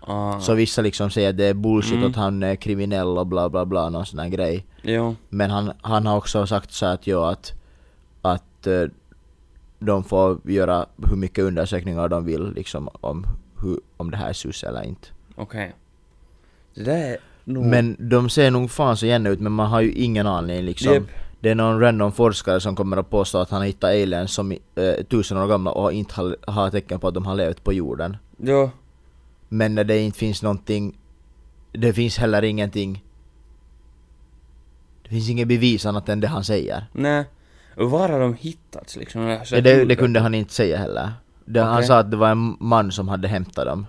Speaker 3: Ah.
Speaker 2: Så vissa liksom säger att det är bullshit
Speaker 3: Mm.
Speaker 2: att han är kriminell och bla bla bla, någon sån här grej.
Speaker 3: Jo.
Speaker 2: Men han, han har också sagt så här att, ja, att, att eh, de får göra hur mycket undersökningar de vill liksom om, hur, om det här är sus eller inte.
Speaker 3: Okej. Det där är nog...
Speaker 2: Men de ser nog fan så jämna ut men man har ju ingen aning liksom.
Speaker 3: Japp.
Speaker 2: Det är någon random forskare som kommer att påstå att han har hittat aliens som är tusen år gamla och inte har, har tecken på att de har levt på jorden.
Speaker 3: Jo.
Speaker 2: Men när det inte finns någonting, det finns heller ingenting. Det finns inget bevis annat än det han säger.
Speaker 3: Nej. Och var har de hittats liksom? Eller så-
Speaker 2: Nej, det, det kunde han inte säga heller. Det, Han
Speaker 3: Okej.
Speaker 2: sa att det var en man som hade hämtat dem.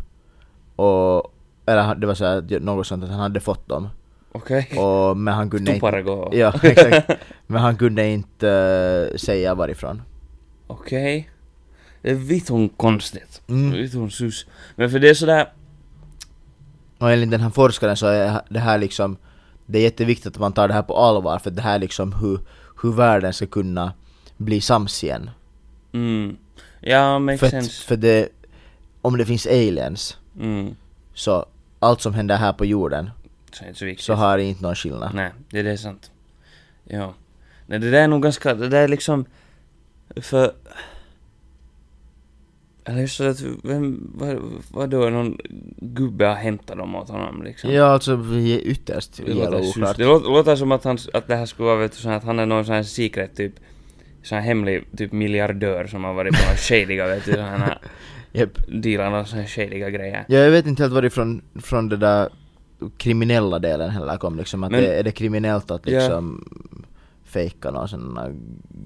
Speaker 2: Och, eller han- det var så här, att något sånt att han hade fått dem.
Speaker 3: Okej.
Speaker 2: Och, men han kunde inte...
Speaker 3: Tuparago.
Speaker 2: Ja, exakt. Men han kunde inte eh, säga varifrån.
Speaker 3: Okej. Det är vitun konstigt.
Speaker 2: Mm.
Speaker 3: Vitun sus. Men för det är sådär...
Speaker 2: Och enligt den här forskaren så är det här liksom... Det är jätteviktigt att man tar det här på allvar för det här är liksom hur, hur världen ska kunna bli sams igen.
Speaker 3: Mm. Ja, makes
Speaker 2: För, att-
Speaker 3: sense.
Speaker 2: för det... Om det finns aliens
Speaker 3: Mm.
Speaker 2: så allt som händer här på jorden
Speaker 3: Så är det inte så viktigt.
Speaker 2: så har det inte någon skillnad.
Speaker 3: Nej, det det är sant. Ja. Nej, det där är nog ganska, det där är liksom, för... Eller just så att, vem, vad, vadå, någon gubbe har hämtat dem åt honom liksom?
Speaker 2: Ja, alltså vi är ytterst
Speaker 3: det låter,
Speaker 2: jävla
Speaker 3: sus-
Speaker 2: oklart.
Speaker 3: det låter, låter som att, han, att det här skulle vara, vet du, så här, att han är någon sån här secret typ, sån här hemlig typ miljardör som har varit på några shadiga, vet du, såna här,
Speaker 2: Japp.
Speaker 3: dealar några såna här shadiga grejer.
Speaker 2: Ja, jag vet inte helt varifrån från det där kriminella delen heller kom liksom. Att
Speaker 3: Men-
Speaker 2: det, är det kriminellt att
Speaker 3: Ja.
Speaker 2: liksom fejka några sådana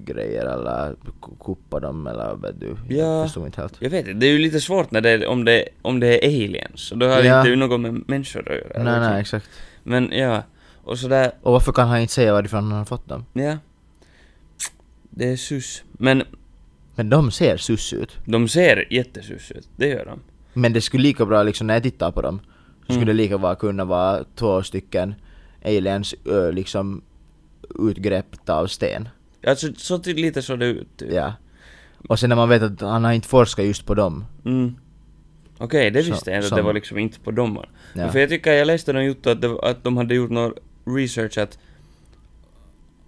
Speaker 2: grejer eller k- kuppa dem eller vet du?
Speaker 3: Ja.
Speaker 2: Jag förstod inte helt.
Speaker 3: Jag vet inte, det är ju lite svårt när det är, om det, om det är aliens, så då har det
Speaker 2: Ja.
Speaker 3: inte något med människor att göra.
Speaker 2: nej,
Speaker 3: liksom.
Speaker 2: nej, exakt.
Speaker 3: Men ja, och sådär,
Speaker 2: Och varför kan han inte säga varifrån han har fått dem?
Speaker 3: ja. Det är sus. Men
Speaker 2: Men de ser sus ut.
Speaker 3: de ser jättesus ut, det gör de.
Speaker 2: Men det skulle lika bra liksom, när jag tittar på dem, så skulle
Speaker 3: Mm.
Speaker 2: det lika bra kunna vara två stycken aliens ö, liksom utgräppta av sten.
Speaker 3: Alltså, så ty- lite såg det ut typ.
Speaker 2: Ja. Och sen när man vet att han har inte forskat just på dem.
Speaker 3: Mm. Okej, det
Speaker 2: Så-
Speaker 3: visste jag inte att
Speaker 2: som-
Speaker 3: det var liksom inte på dem.
Speaker 2: Ja.
Speaker 3: För jag tycker, jag läste någon jotto att, det- att de hade gjort någon research att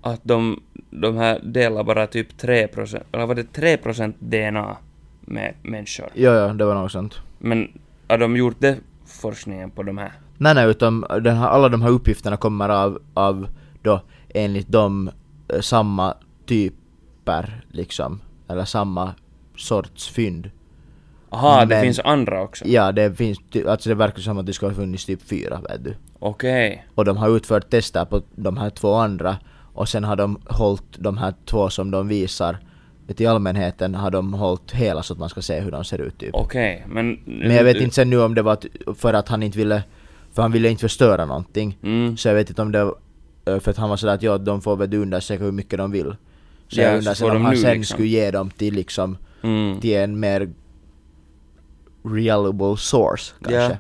Speaker 3: att de, de här delar bara typ 3%, eller var det 3% DNA med människor?
Speaker 2: Ja, ja, det var något sånt.
Speaker 3: Men har de gjort det forskningen på de här?
Speaker 2: Nej, nej, utan den här, alla de här uppgifterna kommer av, av då enligt dem eh, samma typer liksom. Eller samma sorts fynd.
Speaker 3: Aha, det
Speaker 2: Men-
Speaker 3: finns andra också?
Speaker 2: Ja, det finns, ty- alltså det verkar som att det ska ha funnits typ fyra, vet du.
Speaker 3: Okej.
Speaker 2: Och de har utfört tester på de här två andra och sen har de hållit de här två som de visar till allmänheten har de hållit hela så att man ska se hur de ser ut typ.
Speaker 3: Okej, men...
Speaker 2: Men jag vet inte sen nu om det var att- för att han inte ville, för han ville inte förstöra någonting.
Speaker 3: Mm.
Speaker 2: Så jag vet inte om det var, eh, för att han var sådär att ja, de får väl undersöka hur mycket de vill. Så
Speaker 3: Ja,
Speaker 2: jag
Speaker 3: så
Speaker 2: undrar
Speaker 3: får
Speaker 2: sen om
Speaker 3: de
Speaker 2: han
Speaker 3: nu
Speaker 2: sen
Speaker 3: liksom.
Speaker 2: skulle ge dem till liksom,
Speaker 3: Mm.
Speaker 2: till en mer reliable source kanske.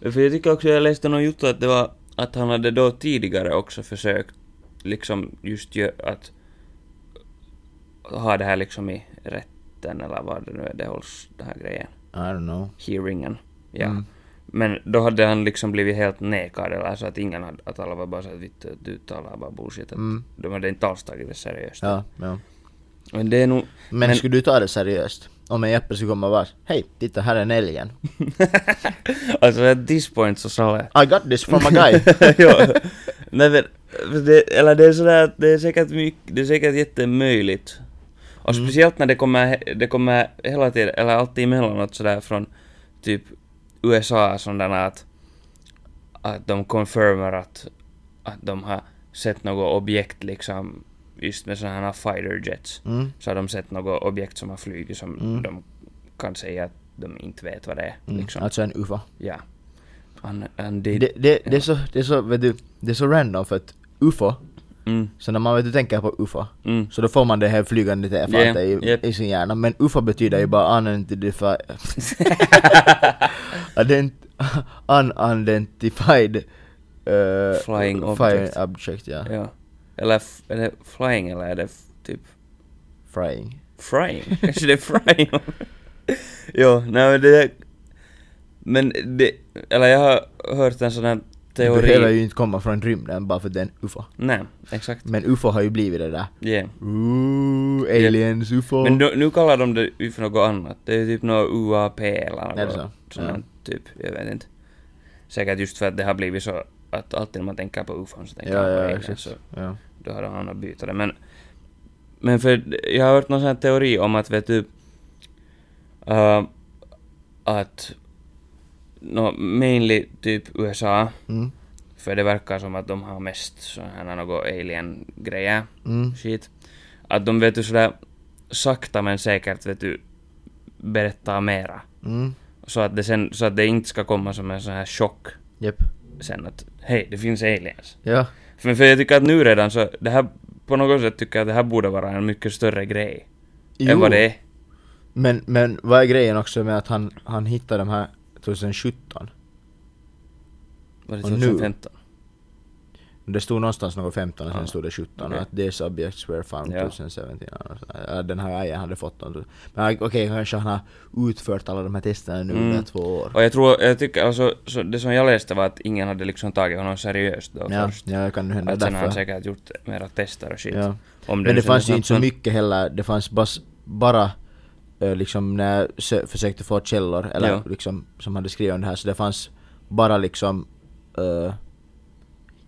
Speaker 3: För jag tycker också, jag läste någon jotto att det var att han hade då tidigare också försökt liksom just ju att ha det här liksom i rätten eller vad det nu är, det hålls, den här grejen,
Speaker 2: I don't know.
Speaker 3: hearingen. Ja.
Speaker 2: Mm.
Speaker 3: Men då hade han liksom blivit helt nekad eller så att ingen hade, att alla var bara så att "Vittu, du talar bara bullshit. Att
Speaker 2: Mm.
Speaker 3: De hade inte alls tagit det seriöst.
Speaker 2: Ja, ja.
Speaker 3: Men det är nog...
Speaker 2: Men, skulle du ta det seriöst? Om en Jeppe skulle komma och bara hej, titta här är en alien.
Speaker 3: alltså at this point så sa jag
Speaker 2: I got this from a guy.
Speaker 3: ja. Nej men, för det, eller det är sådär att det är säkert mycket, det är säkert jättemöjligt. Och
Speaker 2: Mm.
Speaker 3: speciellt när det kommer, det kommer hela tiden, eller alltid emellanåt sådär från typ USA sådana att, att de confirmar att, att de har sett något objekt liksom just med sådana här fighter jets.
Speaker 2: Mm.
Speaker 3: Så har de sett något objekt som har flugit som
Speaker 2: Mm.
Speaker 3: de kan säga att de inte vet vad det är.
Speaker 2: Mm.
Speaker 3: Liksom.
Speaker 2: Alltså en UFO.
Speaker 3: Ja. Un,
Speaker 2: Det,
Speaker 3: undid,
Speaker 2: det, det, är så, det, är så, vet du, det är så random för att UFO,
Speaker 3: Mm,
Speaker 2: så när man vet du tänker på UFO,
Speaker 3: mm.
Speaker 2: så då får man det här flygande till
Speaker 3: Yeah,
Speaker 2: yeah, i,
Speaker 3: yep.
Speaker 2: i sin hjärna. Men UFO betyder ju bara unidentified... Ident- unidentified... eh,
Speaker 3: Flying object.
Speaker 2: Flying object, ja.
Speaker 3: Ja. Eller f- är det flying eller är det f- typ
Speaker 2: Frying.
Speaker 3: frying? Kanske det är frying? jo, nej men det där... Men det, eller jag har hört en sån här
Speaker 2: Det behöver ju
Speaker 3: teori.
Speaker 2: inte komma från rymden bara för att det är en UFO.
Speaker 3: Nej, exakt.
Speaker 2: Men UFO har ju blivit det där.
Speaker 3: Yeah.
Speaker 2: Ooh, aliens, UFO.
Speaker 3: Men nu, nu kallar de det ju för något annat. Det är typ något UAP eller
Speaker 2: Är det
Speaker 3: något
Speaker 2: så?
Speaker 3: sånt
Speaker 2: Ja.
Speaker 3: här typ. Jag vet inte. Säkert just för att det har blivit så att alltid när man tänker på UFOn så tänker
Speaker 2: ja,
Speaker 3: man på
Speaker 2: ja,
Speaker 3: aliens, alltså.
Speaker 2: exakt.
Speaker 3: så
Speaker 2: Ja.
Speaker 3: då har de hamnat och bytt det. Men, men för jag har hört någon sån här teori om att vet du äh, att no, mainly typ USA
Speaker 2: Mm.
Speaker 3: för det verkar som att de har mest sådana här något alien-grejer
Speaker 2: Mm.
Speaker 3: shit. Att de vet du sådär sakta men säkert vet du berättar mera.
Speaker 2: Mm.
Speaker 3: Så att det sen, så att det inte ska komma som en sån här chock
Speaker 2: Jep.
Speaker 3: sen att hej, det finns aliens.
Speaker 2: Ja.
Speaker 3: För, för jag tycker att nu redan så, det här på något sätt tycker jag att det här borde vara en mycket större grej. Än vad det är.
Speaker 2: Men, men vad är grejen också med att han, han hittade de här 2017?
Speaker 3: Var det
Speaker 2: Och nu?
Speaker 3: 2015?
Speaker 2: Det stod någonstans något 15 och sen
Speaker 3: Ja.
Speaker 2: stod det 17
Speaker 3: Okej.
Speaker 2: och att these objects were found
Speaker 3: Ja.
Speaker 2: 2017 och sådär. Ja, Den här ägaren hade fått dem. Men han- okej, kanske han har utfört alla de här testerna nu
Speaker 3: Mm.
Speaker 2: under två år.
Speaker 3: Och jag tror, jag tycker alltså, så det som jag läste var att ingen hade liksom tagit honom seriöst då
Speaker 2: Ja,
Speaker 3: först.
Speaker 2: ja, det kan nu hända
Speaker 3: Att sen har han
Speaker 2: därför.
Speaker 3: säkert gjort mera tester och shit.
Speaker 2: Ja.
Speaker 3: Om
Speaker 2: Men
Speaker 3: nu
Speaker 2: det
Speaker 3: sen är
Speaker 2: fanns ju
Speaker 3: sant,
Speaker 2: inte så
Speaker 3: men-
Speaker 2: mycket heller, det fanns bas, bara eh, liksom när jag sö- försökte få källor, eller
Speaker 3: Ja.
Speaker 2: liksom som hade skrivit om det här, så det fanns bara liksom eh,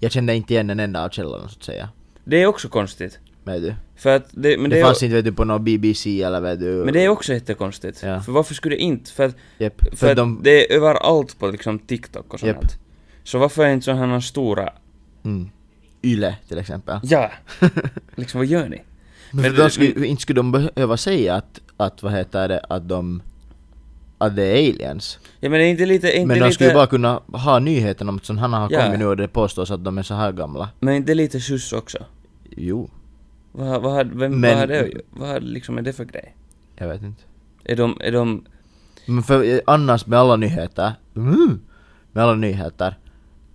Speaker 2: jag kände inte igen en enda av källorna så att säga.
Speaker 3: Det är också konstigt.
Speaker 2: Vet du?
Speaker 3: För att det, men
Speaker 2: det,
Speaker 3: det, är-
Speaker 2: fanns inte vet du, på någon BBC eller vet du...
Speaker 3: Men det är också jättekonstigt.
Speaker 2: Ja.
Speaker 3: För varför skulle det inte? För att,
Speaker 2: Japp,
Speaker 3: för att
Speaker 2: de...
Speaker 3: det är överallt på liksom TikTok och sånt.
Speaker 2: Japp.
Speaker 3: Så varför är inte sådana stora...
Speaker 2: Mm. Yle till exempel.
Speaker 3: Ja! liksom vad gör ni?
Speaker 2: Men,
Speaker 3: Men
Speaker 2: för de
Speaker 3: det-
Speaker 2: skulle, inte skulle de behöva säga att, att vad heter det, att de... Att det är aliens.
Speaker 3: Ja men är inte lite... Är inte
Speaker 2: Men de
Speaker 3: lite,
Speaker 2: skulle ju bara kunna ha nyheten om att sådana här har
Speaker 3: Ja.
Speaker 2: kommit nu och det påstås att de är så här gamla.
Speaker 3: Men är inte lite sus också?
Speaker 2: Jo,
Speaker 3: Vad, har- vad, har- vem,
Speaker 2: Men-
Speaker 3: vad, har det, vad har liksom är det för grej?
Speaker 2: jag vet inte.
Speaker 3: Är de, är de...
Speaker 2: Men för eh, annars med alla nyheter, mm, med alla nyheter,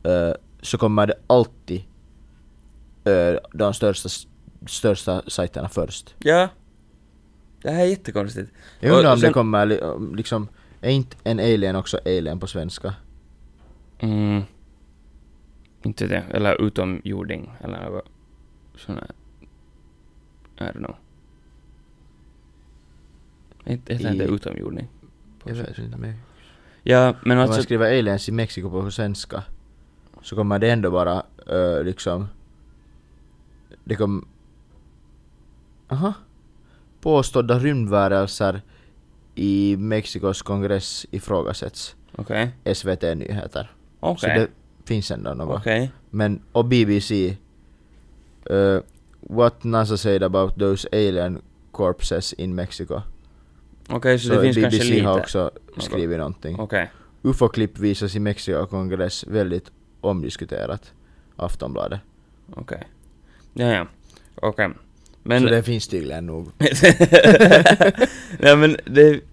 Speaker 2: eh, så kommer det alltid eh, de största, största sajterna först.
Speaker 3: Ja. Det här är jättekonstigt.
Speaker 2: Jag
Speaker 3: Och
Speaker 2: undrar om
Speaker 3: sen-
Speaker 2: det kommer li- om liksom, är inte en alien också alien på svenska?
Speaker 3: Mm. Inte det. Eller utomjording. Eller något sån här. I don't know. Inte- Heter
Speaker 2: I-
Speaker 3: inte det utomjording? på
Speaker 2: Jag vet
Speaker 3: svenska?
Speaker 2: inte. Men
Speaker 3: Ja, men
Speaker 2: om man
Speaker 3: alltså...
Speaker 2: skriver aliens i Mexiko på svenska så kommer det ändå bara eh, liksom... Det kommer... Aha. Påstådda rymdvarelser i Mexikos kongress ifrågasätts.
Speaker 3: Okej.
Speaker 2: SVT Nyheter. Så
Speaker 3: Okej.
Speaker 2: det finns ändå något.
Speaker 3: Okej.
Speaker 2: Men, och BBC. eh, what NASA said about those alien corpses in Mexico.
Speaker 3: Okej, så det finns
Speaker 2: BBC
Speaker 3: kanske lite.
Speaker 2: har
Speaker 3: Okej.
Speaker 2: också skrivit någonting. UFO-klipp visas i Mexiko kongress väldigt omdiskuterat. Aftonbladet.
Speaker 3: Okej. Ja, ja. Okej. Men...
Speaker 2: Så det finns tydligen nog.
Speaker 3: Nej men det...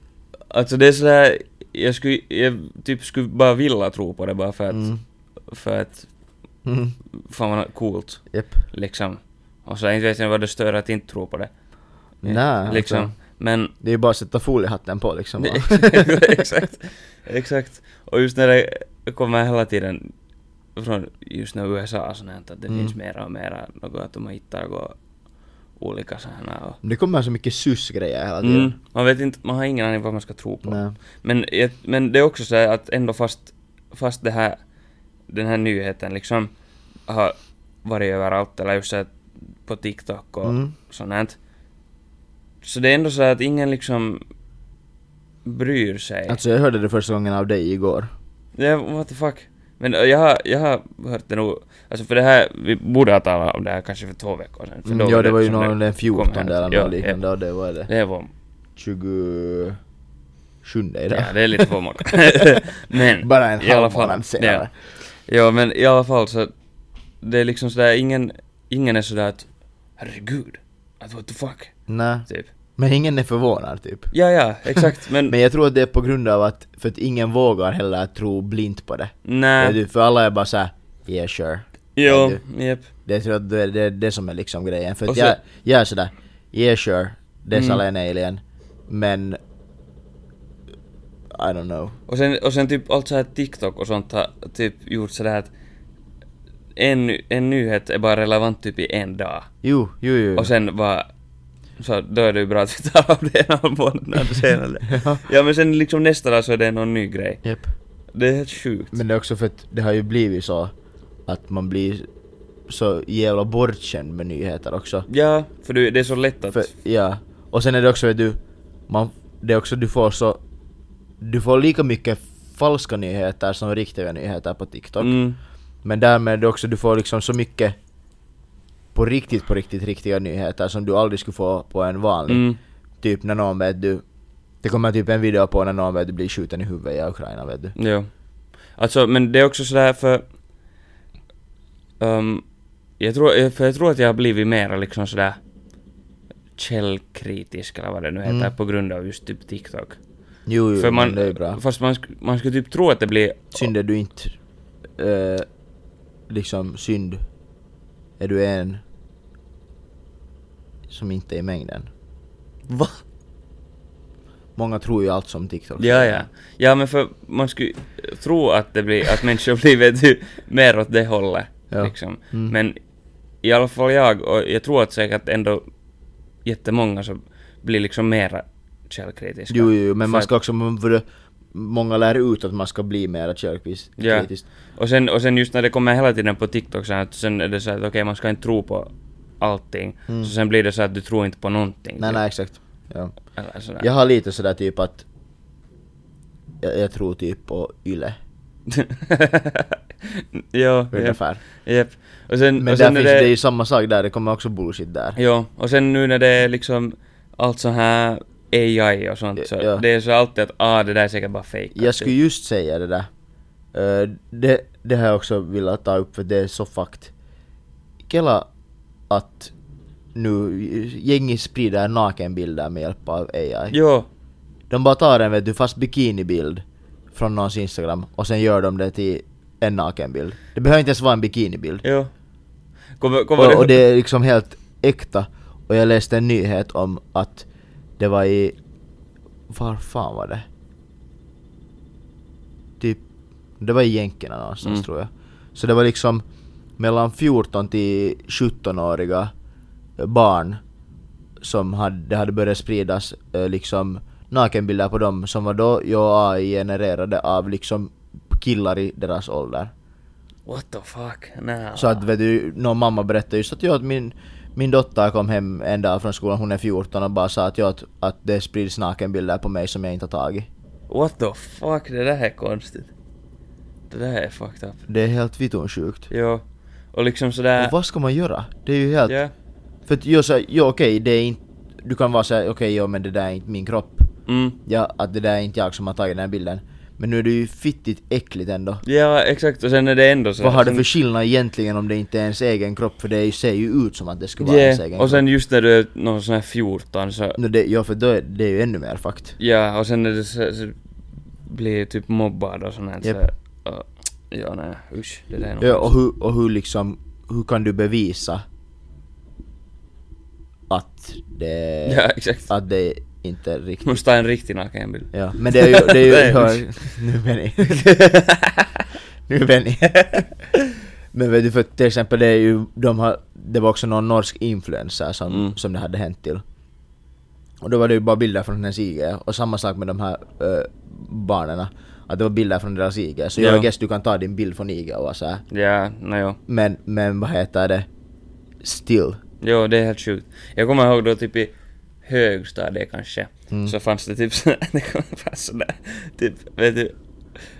Speaker 3: Alltså det är sådär... Jag skulle... Jag typ skulle bara vilja tro på det bara för att...
Speaker 2: Mm.
Speaker 3: För att...
Speaker 2: Mm.
Speaker 3: Fan vad coolt.
Speaker 2: Japp.
Speaker 3: liksom. Och så inte vet jag vad det stör att inte tro på det.
Speaker 2: Nej,
Speaker 3: liksom.
Speaker 2: alltså.
Speaker 3: Men...
Speaker 2: Det är ju bara att sätta foliehatten på liksom. va?
Speaker 3: exakt. Exakt. Och just när det kommer hela tiden från just när USA och sånt här, att det
Speaker 2: Mm.
Speaker 3: finns mera och mera något att de hittar något olika sådana och...
Speaker 2: Men Det kommer så mycket sus-grejer hela tiden.
Speaker 3: Mm, man vet inte, man har ingen aning vad man ska tro på.
Speaker 2: Nej.
Speaker 3: Men, jag- men det är också så här att ändå fast, fast det här, den här nyheten liksom har varit överallt eller just så här på TikTok och
Speaker 2: Mm.
Speaker 3: sånt här. Så det är ändå så här att ingen liksom bryr sig.
Speaker 2: Alltså jag hörde det första gången av dig igår.
Speaker 3: Ja, what the fuck. Men jag har, jag har hört det nog, alltså för det här, vi borde ha talat om det här kanske för två veckor sedan. För
Speaker 2: Mm, ja det var ju
Speaker 3: som
Speaker 2: någon den
Speaker 3: kom
Speaker 2: 14
Speaker 3: här.
Speaker 2: eller
Speaker 3: Ja,
Speaker 2: något liknande och det var det.
Speaker 3: Det var,
Speaker 2: 27 idag.
Speaker 3: ja det är lite för många. men
Speaker 2: Bara en
Speaker 3: i alla
Speaker 2: halv
Speaker 3: fall,
Speaker 2: månad senare.
Speaker 3: Ja men i alla fall så, det är liksom sådär, ingen, ingen är sådär att herregud, att what the fuck,
Speaker 2: Nej.
Speaker 3: typ.
Speaker 2: Men ingen är förvånad typ.
Speaker 3: Ja, ja, exakt, men,
Speaker 2: Men jag tror att det är på grund av att, för att ingen vågar heller att tro blint på det. Vet
Speaker 3: nej,
Speaker 2: du, För alla är bara såhär, yeah sure.
Speaker 3: jo,
Speaker 2: vet
Speaker 3: jep,
Speaker 2: Det tror jag det, det är det som är liksom grejen. För att
Speaker 3: Och så-
Speaker 2: jag, jag är sådär, yeah sure, det är
Speaker 3: Mm.
Speaker 2: mm. alien alien. Men I don't know.
Speaker 3: Och sen, och sen typ allt så här TikTok och sånt har typ gjort sådär att en, en nyhet är bara relevant typ i en dag.
Speaker 2: Jo, jo, jo.
Speaker 3: Och sen bara... Så då är det ju bra att vi tar av det en halv månad senare.
Speaker 2: Ja.
Speaker 3: Ja men sen liksom nästa dag så är det någon ny grej.
Speaker 2: Japp.
Speaker 3: Det är helt sjukt.
Speaker 2: Men det är också för att det har ju blivit så att man blir så jävla bortkänd med nyheter också.
Speaker 3: Ja, för du, det är så lätt att...
Speaker 2: För, ja. Och sen är det också vet du, man, det är också du får så, du får lika mycket falska nyheter som riktiga nyheter på TikTok.
Speaker 3: Mm.
Speaker 2: Men därmed är det också, du får liksom så mycket på riktigt, på riktigt riktiga nyheter som du aldrig skulle få på en vanlig.
Speaker 3: Mm.
Speaker 2: Typ när någon vet du, det kommer typ en video på när någon vet du blir skjuten i huvudet i Ukraina vet du.
Speaker 3: Ja. Alltså, men det är också sådär för... Ehm, jag, tror, för jag tror att jag har blivit mer liksom sådär källkritisk eller vad det nu heter
Speaker 2: Mm.
Speaker 3: på grund av just typ TikTok.
Speaker 2: Jo, jo
Speaker 3: för man,
Speaker 2: men det är ju bra.
Speaker 3: Fast man, sk- man skulle typ tro att det blir...
Speaker 2: Synd är du inte, eh, liksom synd är du en som inte är i mängden.
Speaker 3: Va?
Speaker 2: Många tror ju allt som TikTok.
Speaker 3: Ja, ja. Ja, men för man skulle tro att det blir, att människor blir vet du, mer åt det hållet.
Speaker 2: Ja.
Speaker 3: Liksom.
Speaker 2: Mm.
Speaker 3: Men i alla fall jag, och jag tror att säkert ändå jättemånga som blir liksom mera källkritiska.
Speaker 2: Jo, jo, jo, men
Speaker 3: För
Speaker 2: man ska
Speaker 3: att-
Speaker 2: också, man- för det- många lär ut att man ska bli mer källkritisk.
Speaker 3: Ja. Och sen, och sen just när det kommer hela tiden på TikTok så här, att sen är det så här att okej, man ska inte tro på allting.
Speaker 2: Mm.
Speaker 3: Så sen blir det så att du tror inte på någonting.
Speaker 2: Nej,
Speaker 3: typ.
Speaker 2: nej, exakt. Ja.
Speaker 3: Eller sådär.
Speaker 2: Jag har lite sådär typ att, jag, jag tror typ på YLE,
Speaker 3: Mm. jo, jep,
Speaker 2: ungefär.
Speaker 3: jep. Och sen,
Speaker 2: Men
Speaker 3: och
Speaker 2: där
Speaker 3: sen
Speaker 2: finns,
Speaker 3: är
Speaker 2: det är ju samma sak där, det kommer också bullshit där.
Speaker 3: Ja, och sen nu när det är liksom allt så här AI och sånt så
Speaker 2: Ja.
Speaker 3: det är så alltid att ah det där är säkert bara fejkat.
Speaker 2: Jag skulle just säga det där. Eh, det, det har jag också velat ta upp för det är så fakt. Kela att nu gänget sprider nakenbilder med hjälp av AI.
Speaker 3: Typ. Jo,
Speaker 2: De bara tar en vet du, fast bikinibild från någons instagram och sen gör de det till en nakenbild. Det behöver inte ens vara en bikinibild.
Speaker 3: jo. Kommer, kommer
Speaker 2: Och,
Speaker 3: du...
Speaker 2: och det är liksom helt äkta. Och jag läste en nyhet om att det var i... Var fan var det? Typ... Det var i Jänkerna någonstans
Speaker 3: Mm.
Speaker 2: tror jag. Så det var liksom mellan 14 till 17-åriga barn som hade, det hade börjat spridas eh, liksom nakenbilder på dem som var då ja, AI-genererade av liksom killar i deras ålder.
Speaker 3: What the fuck? Nah.
Speaker 2: Så att vet du, någon mamma berättade just att, jag, att min, min dotter kom hem en dag från skolan, hon är 14 och bara sa att, jag, att, att det sprids nakenbilder på mig som jag inte har tagit.
Speaker 3: What the fuck? Det där är konstigt. Det där är fucked up.
Speaker 2: Det är helt vitonsjukt.
Speaker 3: Jo. Och liksom sådär...
Speaker 2: Och vad ska man göra? Det är ju helt...
Speaker 3: Ja.
Speaker 2: För att jag säger, ja okej, det är inte... Du kan vara såhär, okej ja men det där är inte min kropp.
Speaker 3: Mm.
Speaker 2: Ja, att det där är inte jag som har tagit den här bilden. Men nu är det ju fittigt äckligt ändå.
Speaker 3: Ja, exakt. Och sen är det ändå så
Speaker 2: Vad har det
Speaker 3: sen-
Speaker 2: för skillnad egentligen om det inte är ens egen kropp? För det är ju- ser ju ut som att det skulle vara ens egen
Speaker 3: Ja, och
Speaker 2: kropp.
Speaker 3: sen just när du är någon sån här 14 så...
Speaker 2: No, det, ja, för då är det är ju ännu mer fakt.
Speaker 3: Ja, och sen när du så, så blir typ mobbad och sånt här
Speaker 2: Japp.
Speaker 3: så... och- ja, nej, usch. Det där är nog...
Speaker 2: Ja, och hur, och hur liksom, hur kan du bevisa att det,
Speaker 3: Ja, exakt.
Speaker 2: att det inte är
Speaker 3: Du
Speaker 2: riktigt...
Speaker 3: måste ta en riktig nakenbild.
Speaker 2: Ja, men det är ju, det är ju,
Speaker 3: Nej,
Speaker 2: hör, nu Benny. nu Benny. men vet du för till exempel det är ju, de har, det var också någon norsk influencer som,
Speaker 3: Mm.
Speaker 2: som det hade hänt till. Och då var det ju bara bilder från hennes IG och samma sak med de här eh, barnen. Att det var bilder från deras IG. Så
Speaker 3: Ja.
Speaker 2: jag guess du kan ta din bild från IG och vara så här.
Speaker 3: Ja, no, jo.
Speaker 2: Men, men vad heter det? Still.
Speaker 3: jo, det är helt sjukt. Jag kommer ihåg då typ i högstadiet kanske,
Speaker 2: Mm.
Speaker 3: så fanns det typ sådär, det kom sådär, typ, vet du,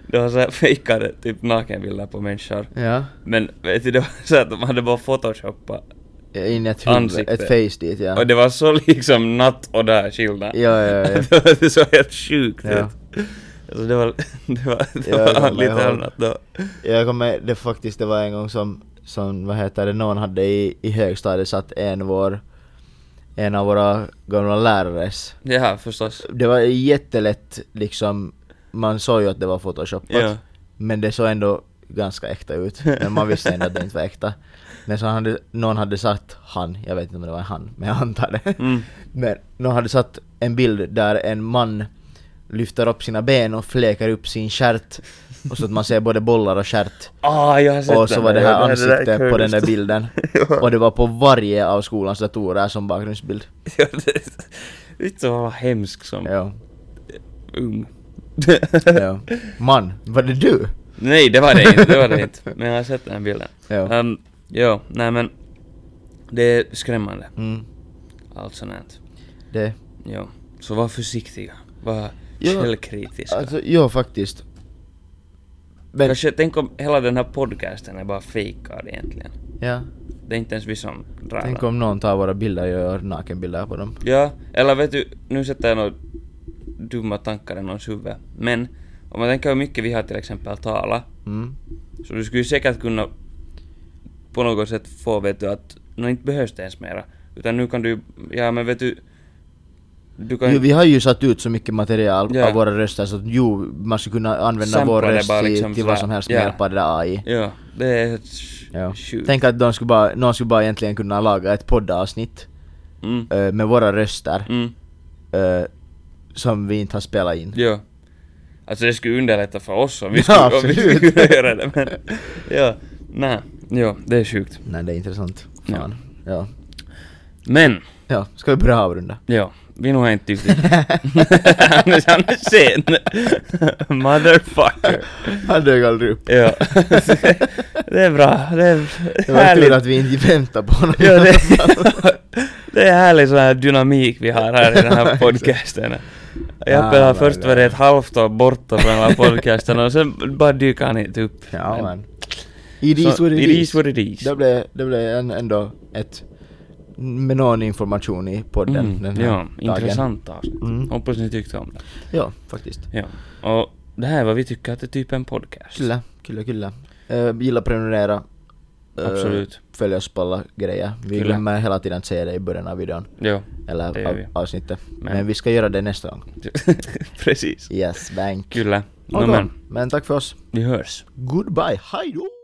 Speaker 3: det var såhär fejkade typ nakenbilder på människor.
Speaker 2: Ja.
Speaker 3: Men vet du, det var så att de hade bara photoshoppat.
Speaker 2: In ett huvud,
Speaker 3: Ansikte.
Speaker 2: ett face dit ja.
Speaker 3: Och det var så liksom natt och dag skillnad.
Speaker 2: Ja, ja, ja.
Speaker 3: det var så helt sjukt
Speaker 2: Ja.
Speaker 3: ut. Alltså det var, det var, det
Speaker 2: Ja, jag
Speaker 3: var
Speaker 2: kommer
Speaker 3: lite
Speaker 2: ihåg.
Speaker 3: annat då.
Speaker 2: Jag kommer, det faktiskt, det var en gång som, som vad heter det, någon hade i, i högstadiet satt en vår, en av våra gamla lärares.
Speaker 3: Ja, förstås.
Speaker 2: Det var jättelätt liksom, man såg ju att det var photoshopat.
Speaker 3: Ja.
Speaker 2: Men det såg ändå ganska äkta ut. Men man visste ändå att det inte var äkta. Men så hade, någon hade satt han, jag vet inte om det var en han, men jag antar det.
Speaker 3: Mm.
Speaker 2: Men någon hade satt en bild där en man lyfter upp sina ben och fläker upp sin stjärt. Och så att man ser både bollar och stjärt.
Speaker 3: Ah, jag har sett
Speaker 2: Och så
Speaker 3: den
Speaker 2: var det
Speaker 3: där.
Speaker 2: här
Speaker 3: Ja, där är
Speaker 2: ansiktet på den där
Speaker 3: kurvist.
Speaker 2: bilden.
Speaker 3: Ja.
Speaker 2: Och det var på varje av skolans datorer som bakgrundsbild.
Speaker 3: Ja, det- Vittu vad hemsk som
Speaker 2: Ja.
Speaker 3: ung.
Speaker 2: ja. Man, var det du?
Speaker 3: Nej, det var det inte, det var det inte. Men jag har sett den här bilden.
Speaker 2: Ja.
Speaker 3: Ehm, jo, nej men. Det är skrämmande.
Speaker 2: Mm.
Speaker 3: Allt sånt här.
Speaker 2: Det.
Speaker 3: Jo. Så var försiktiga. Var
Speaker 2: Ja.
Speaker 3: källkritiska.
Speaker 2: Alltså, ja faktiskt. Men,
Speaker 3: Kanske tänk om hela den här podcasten är bara fejkad egentligen.
Speaker 2: ja.
Speaker 3: Det är inte ens vi som drar
Speaker 2: Tänk
Speaker 3: den.
Speaker 2: om någon tar våra bilder och gör nakenbilder på dem.
Speaker 3: Ja, eller vet du, nu sätter jag några dumma tankar i någons huvud. Men om man tänker hur mycket vi har till exempel talat.
Speaker 2: Mm.
Speaker 3: Så du skulle ju säkert kunna på något sätt få vet du att nu inte behövs det ens mera. Utan nu kan du, ja men vet du. Du kan
Speaker 2: Jo, vi har ju satt ut så mycket material
Speaker 3: Ja.
Speaker 2: av våra röster så att jo, man skulle kunna använda
Speaker 3: Sampla
Speaker 2: vår
Speaker 3: det
Speaker 2: röst
Speaker 3: bara
Speaker 2: till,
Speaker 3: liksom
Speaker 2: till
Speaker 3: sådär.
Speaker 2: vad som helst med
Speaker 3: Ja.
Speaker 2: hjälp av det där AI.
Speaker 3: Ja, det är helt sj-
Speaker 2: Ja.
Speaker 3: sjukt.
Speaker 2: Tänk att de skulle bara, någon skulle bara egentligen kunna laga ett poddavsnitt
Speaker 3: Mm.
Speaker 2: eh, med våra röster
Speaker 3: Mm.
Speaker 2: eh, som vi inte har spelat in.
Speaker 3: Ja. Alltså det skulle underlätta för oss om vi
Speaker 2: Ja,
Speaker 3: skulle, om vi
Speaker 2: absolut.
Speaker 3: skulle göra det men... Ja, nej. Ja, det är sjukt.
Speaker 2: Nej, det är intressant.
Speaker 3: Ja.
Speaker 2: Fan. Ja.
Speaker 3: Men!
Speaker 2: Ja, ska vi börja avrunda?
Speaker 3: Ja, vi nog har inte riktigt... Han är- han är sen. Motherfucker.
Speaker 2: Han dög aldrig upp.
Speaker 3: Ja. Det är bra. Det är
Speaker 2: Det var tur
Speaker 3: härligt.
Speaker 2: att vi inte väntade på honom.
Speaker 3: Ja, det, det är härlig sån här dynamik vi har här i den här podcasten. Jappe har
Speaker 2: Jalla,
Speaker 3: först varit ett halvt år borta från den här podcasten och sen bara dyker han inte upp.
Speaker 2: ja
Speaker 3: Men-
Speaker 2: men. It
Speaker 3: Så,
Speaker 2: is what it,
Speaker 3: it
Speaker 2: is.
Speaker 3: is what it is.
Speaker 2: Det blev, det blev en, ändå ett, med någon information i podden
Speaker 3: Mm,
Speaker 2: den här
Speaker 3: ja,
Speaker 2: dagen.
Speaker 3: intressant avsnitt.
Speaker 2: Mm.
Speaker 3: Hoppas ni tyckte om det.
Speaker 2: Ja, faktiskt.
Speaker 3: Ja. Och det här är vad vi tycker att det är typ en podcast.
Speaker 2: Kyllä, kyllä, kyllä. Eh, gilla prenumerera. eh,
Speaker 3: Absolut.
Speaker 2: Följ oss på alla grejer. Vi
Speaker 3: Kyllä.
Speaker 2: glömmer hela tiden att säga det i början av videon.
Speaker 3: Ja. Det
Speaker 2: Eller
Speaker 3: gör
Speaker 2: av,
Speaker 3: vi.
Speaker 2: avsnittet.
Speaker 3: Men-
Speaker 2: Men. vi ska göra det nästa gång.
Speaker 3: Precis.
Speaker 2: Yes, bank.
Speaker 3: Kyllä. No
Speaker 2: Okej,
Speaker 3: men,
Speaker 2: men tack för oss.
Speaker 3: vi hörs.
Speaker 2: Goodbye, hej då!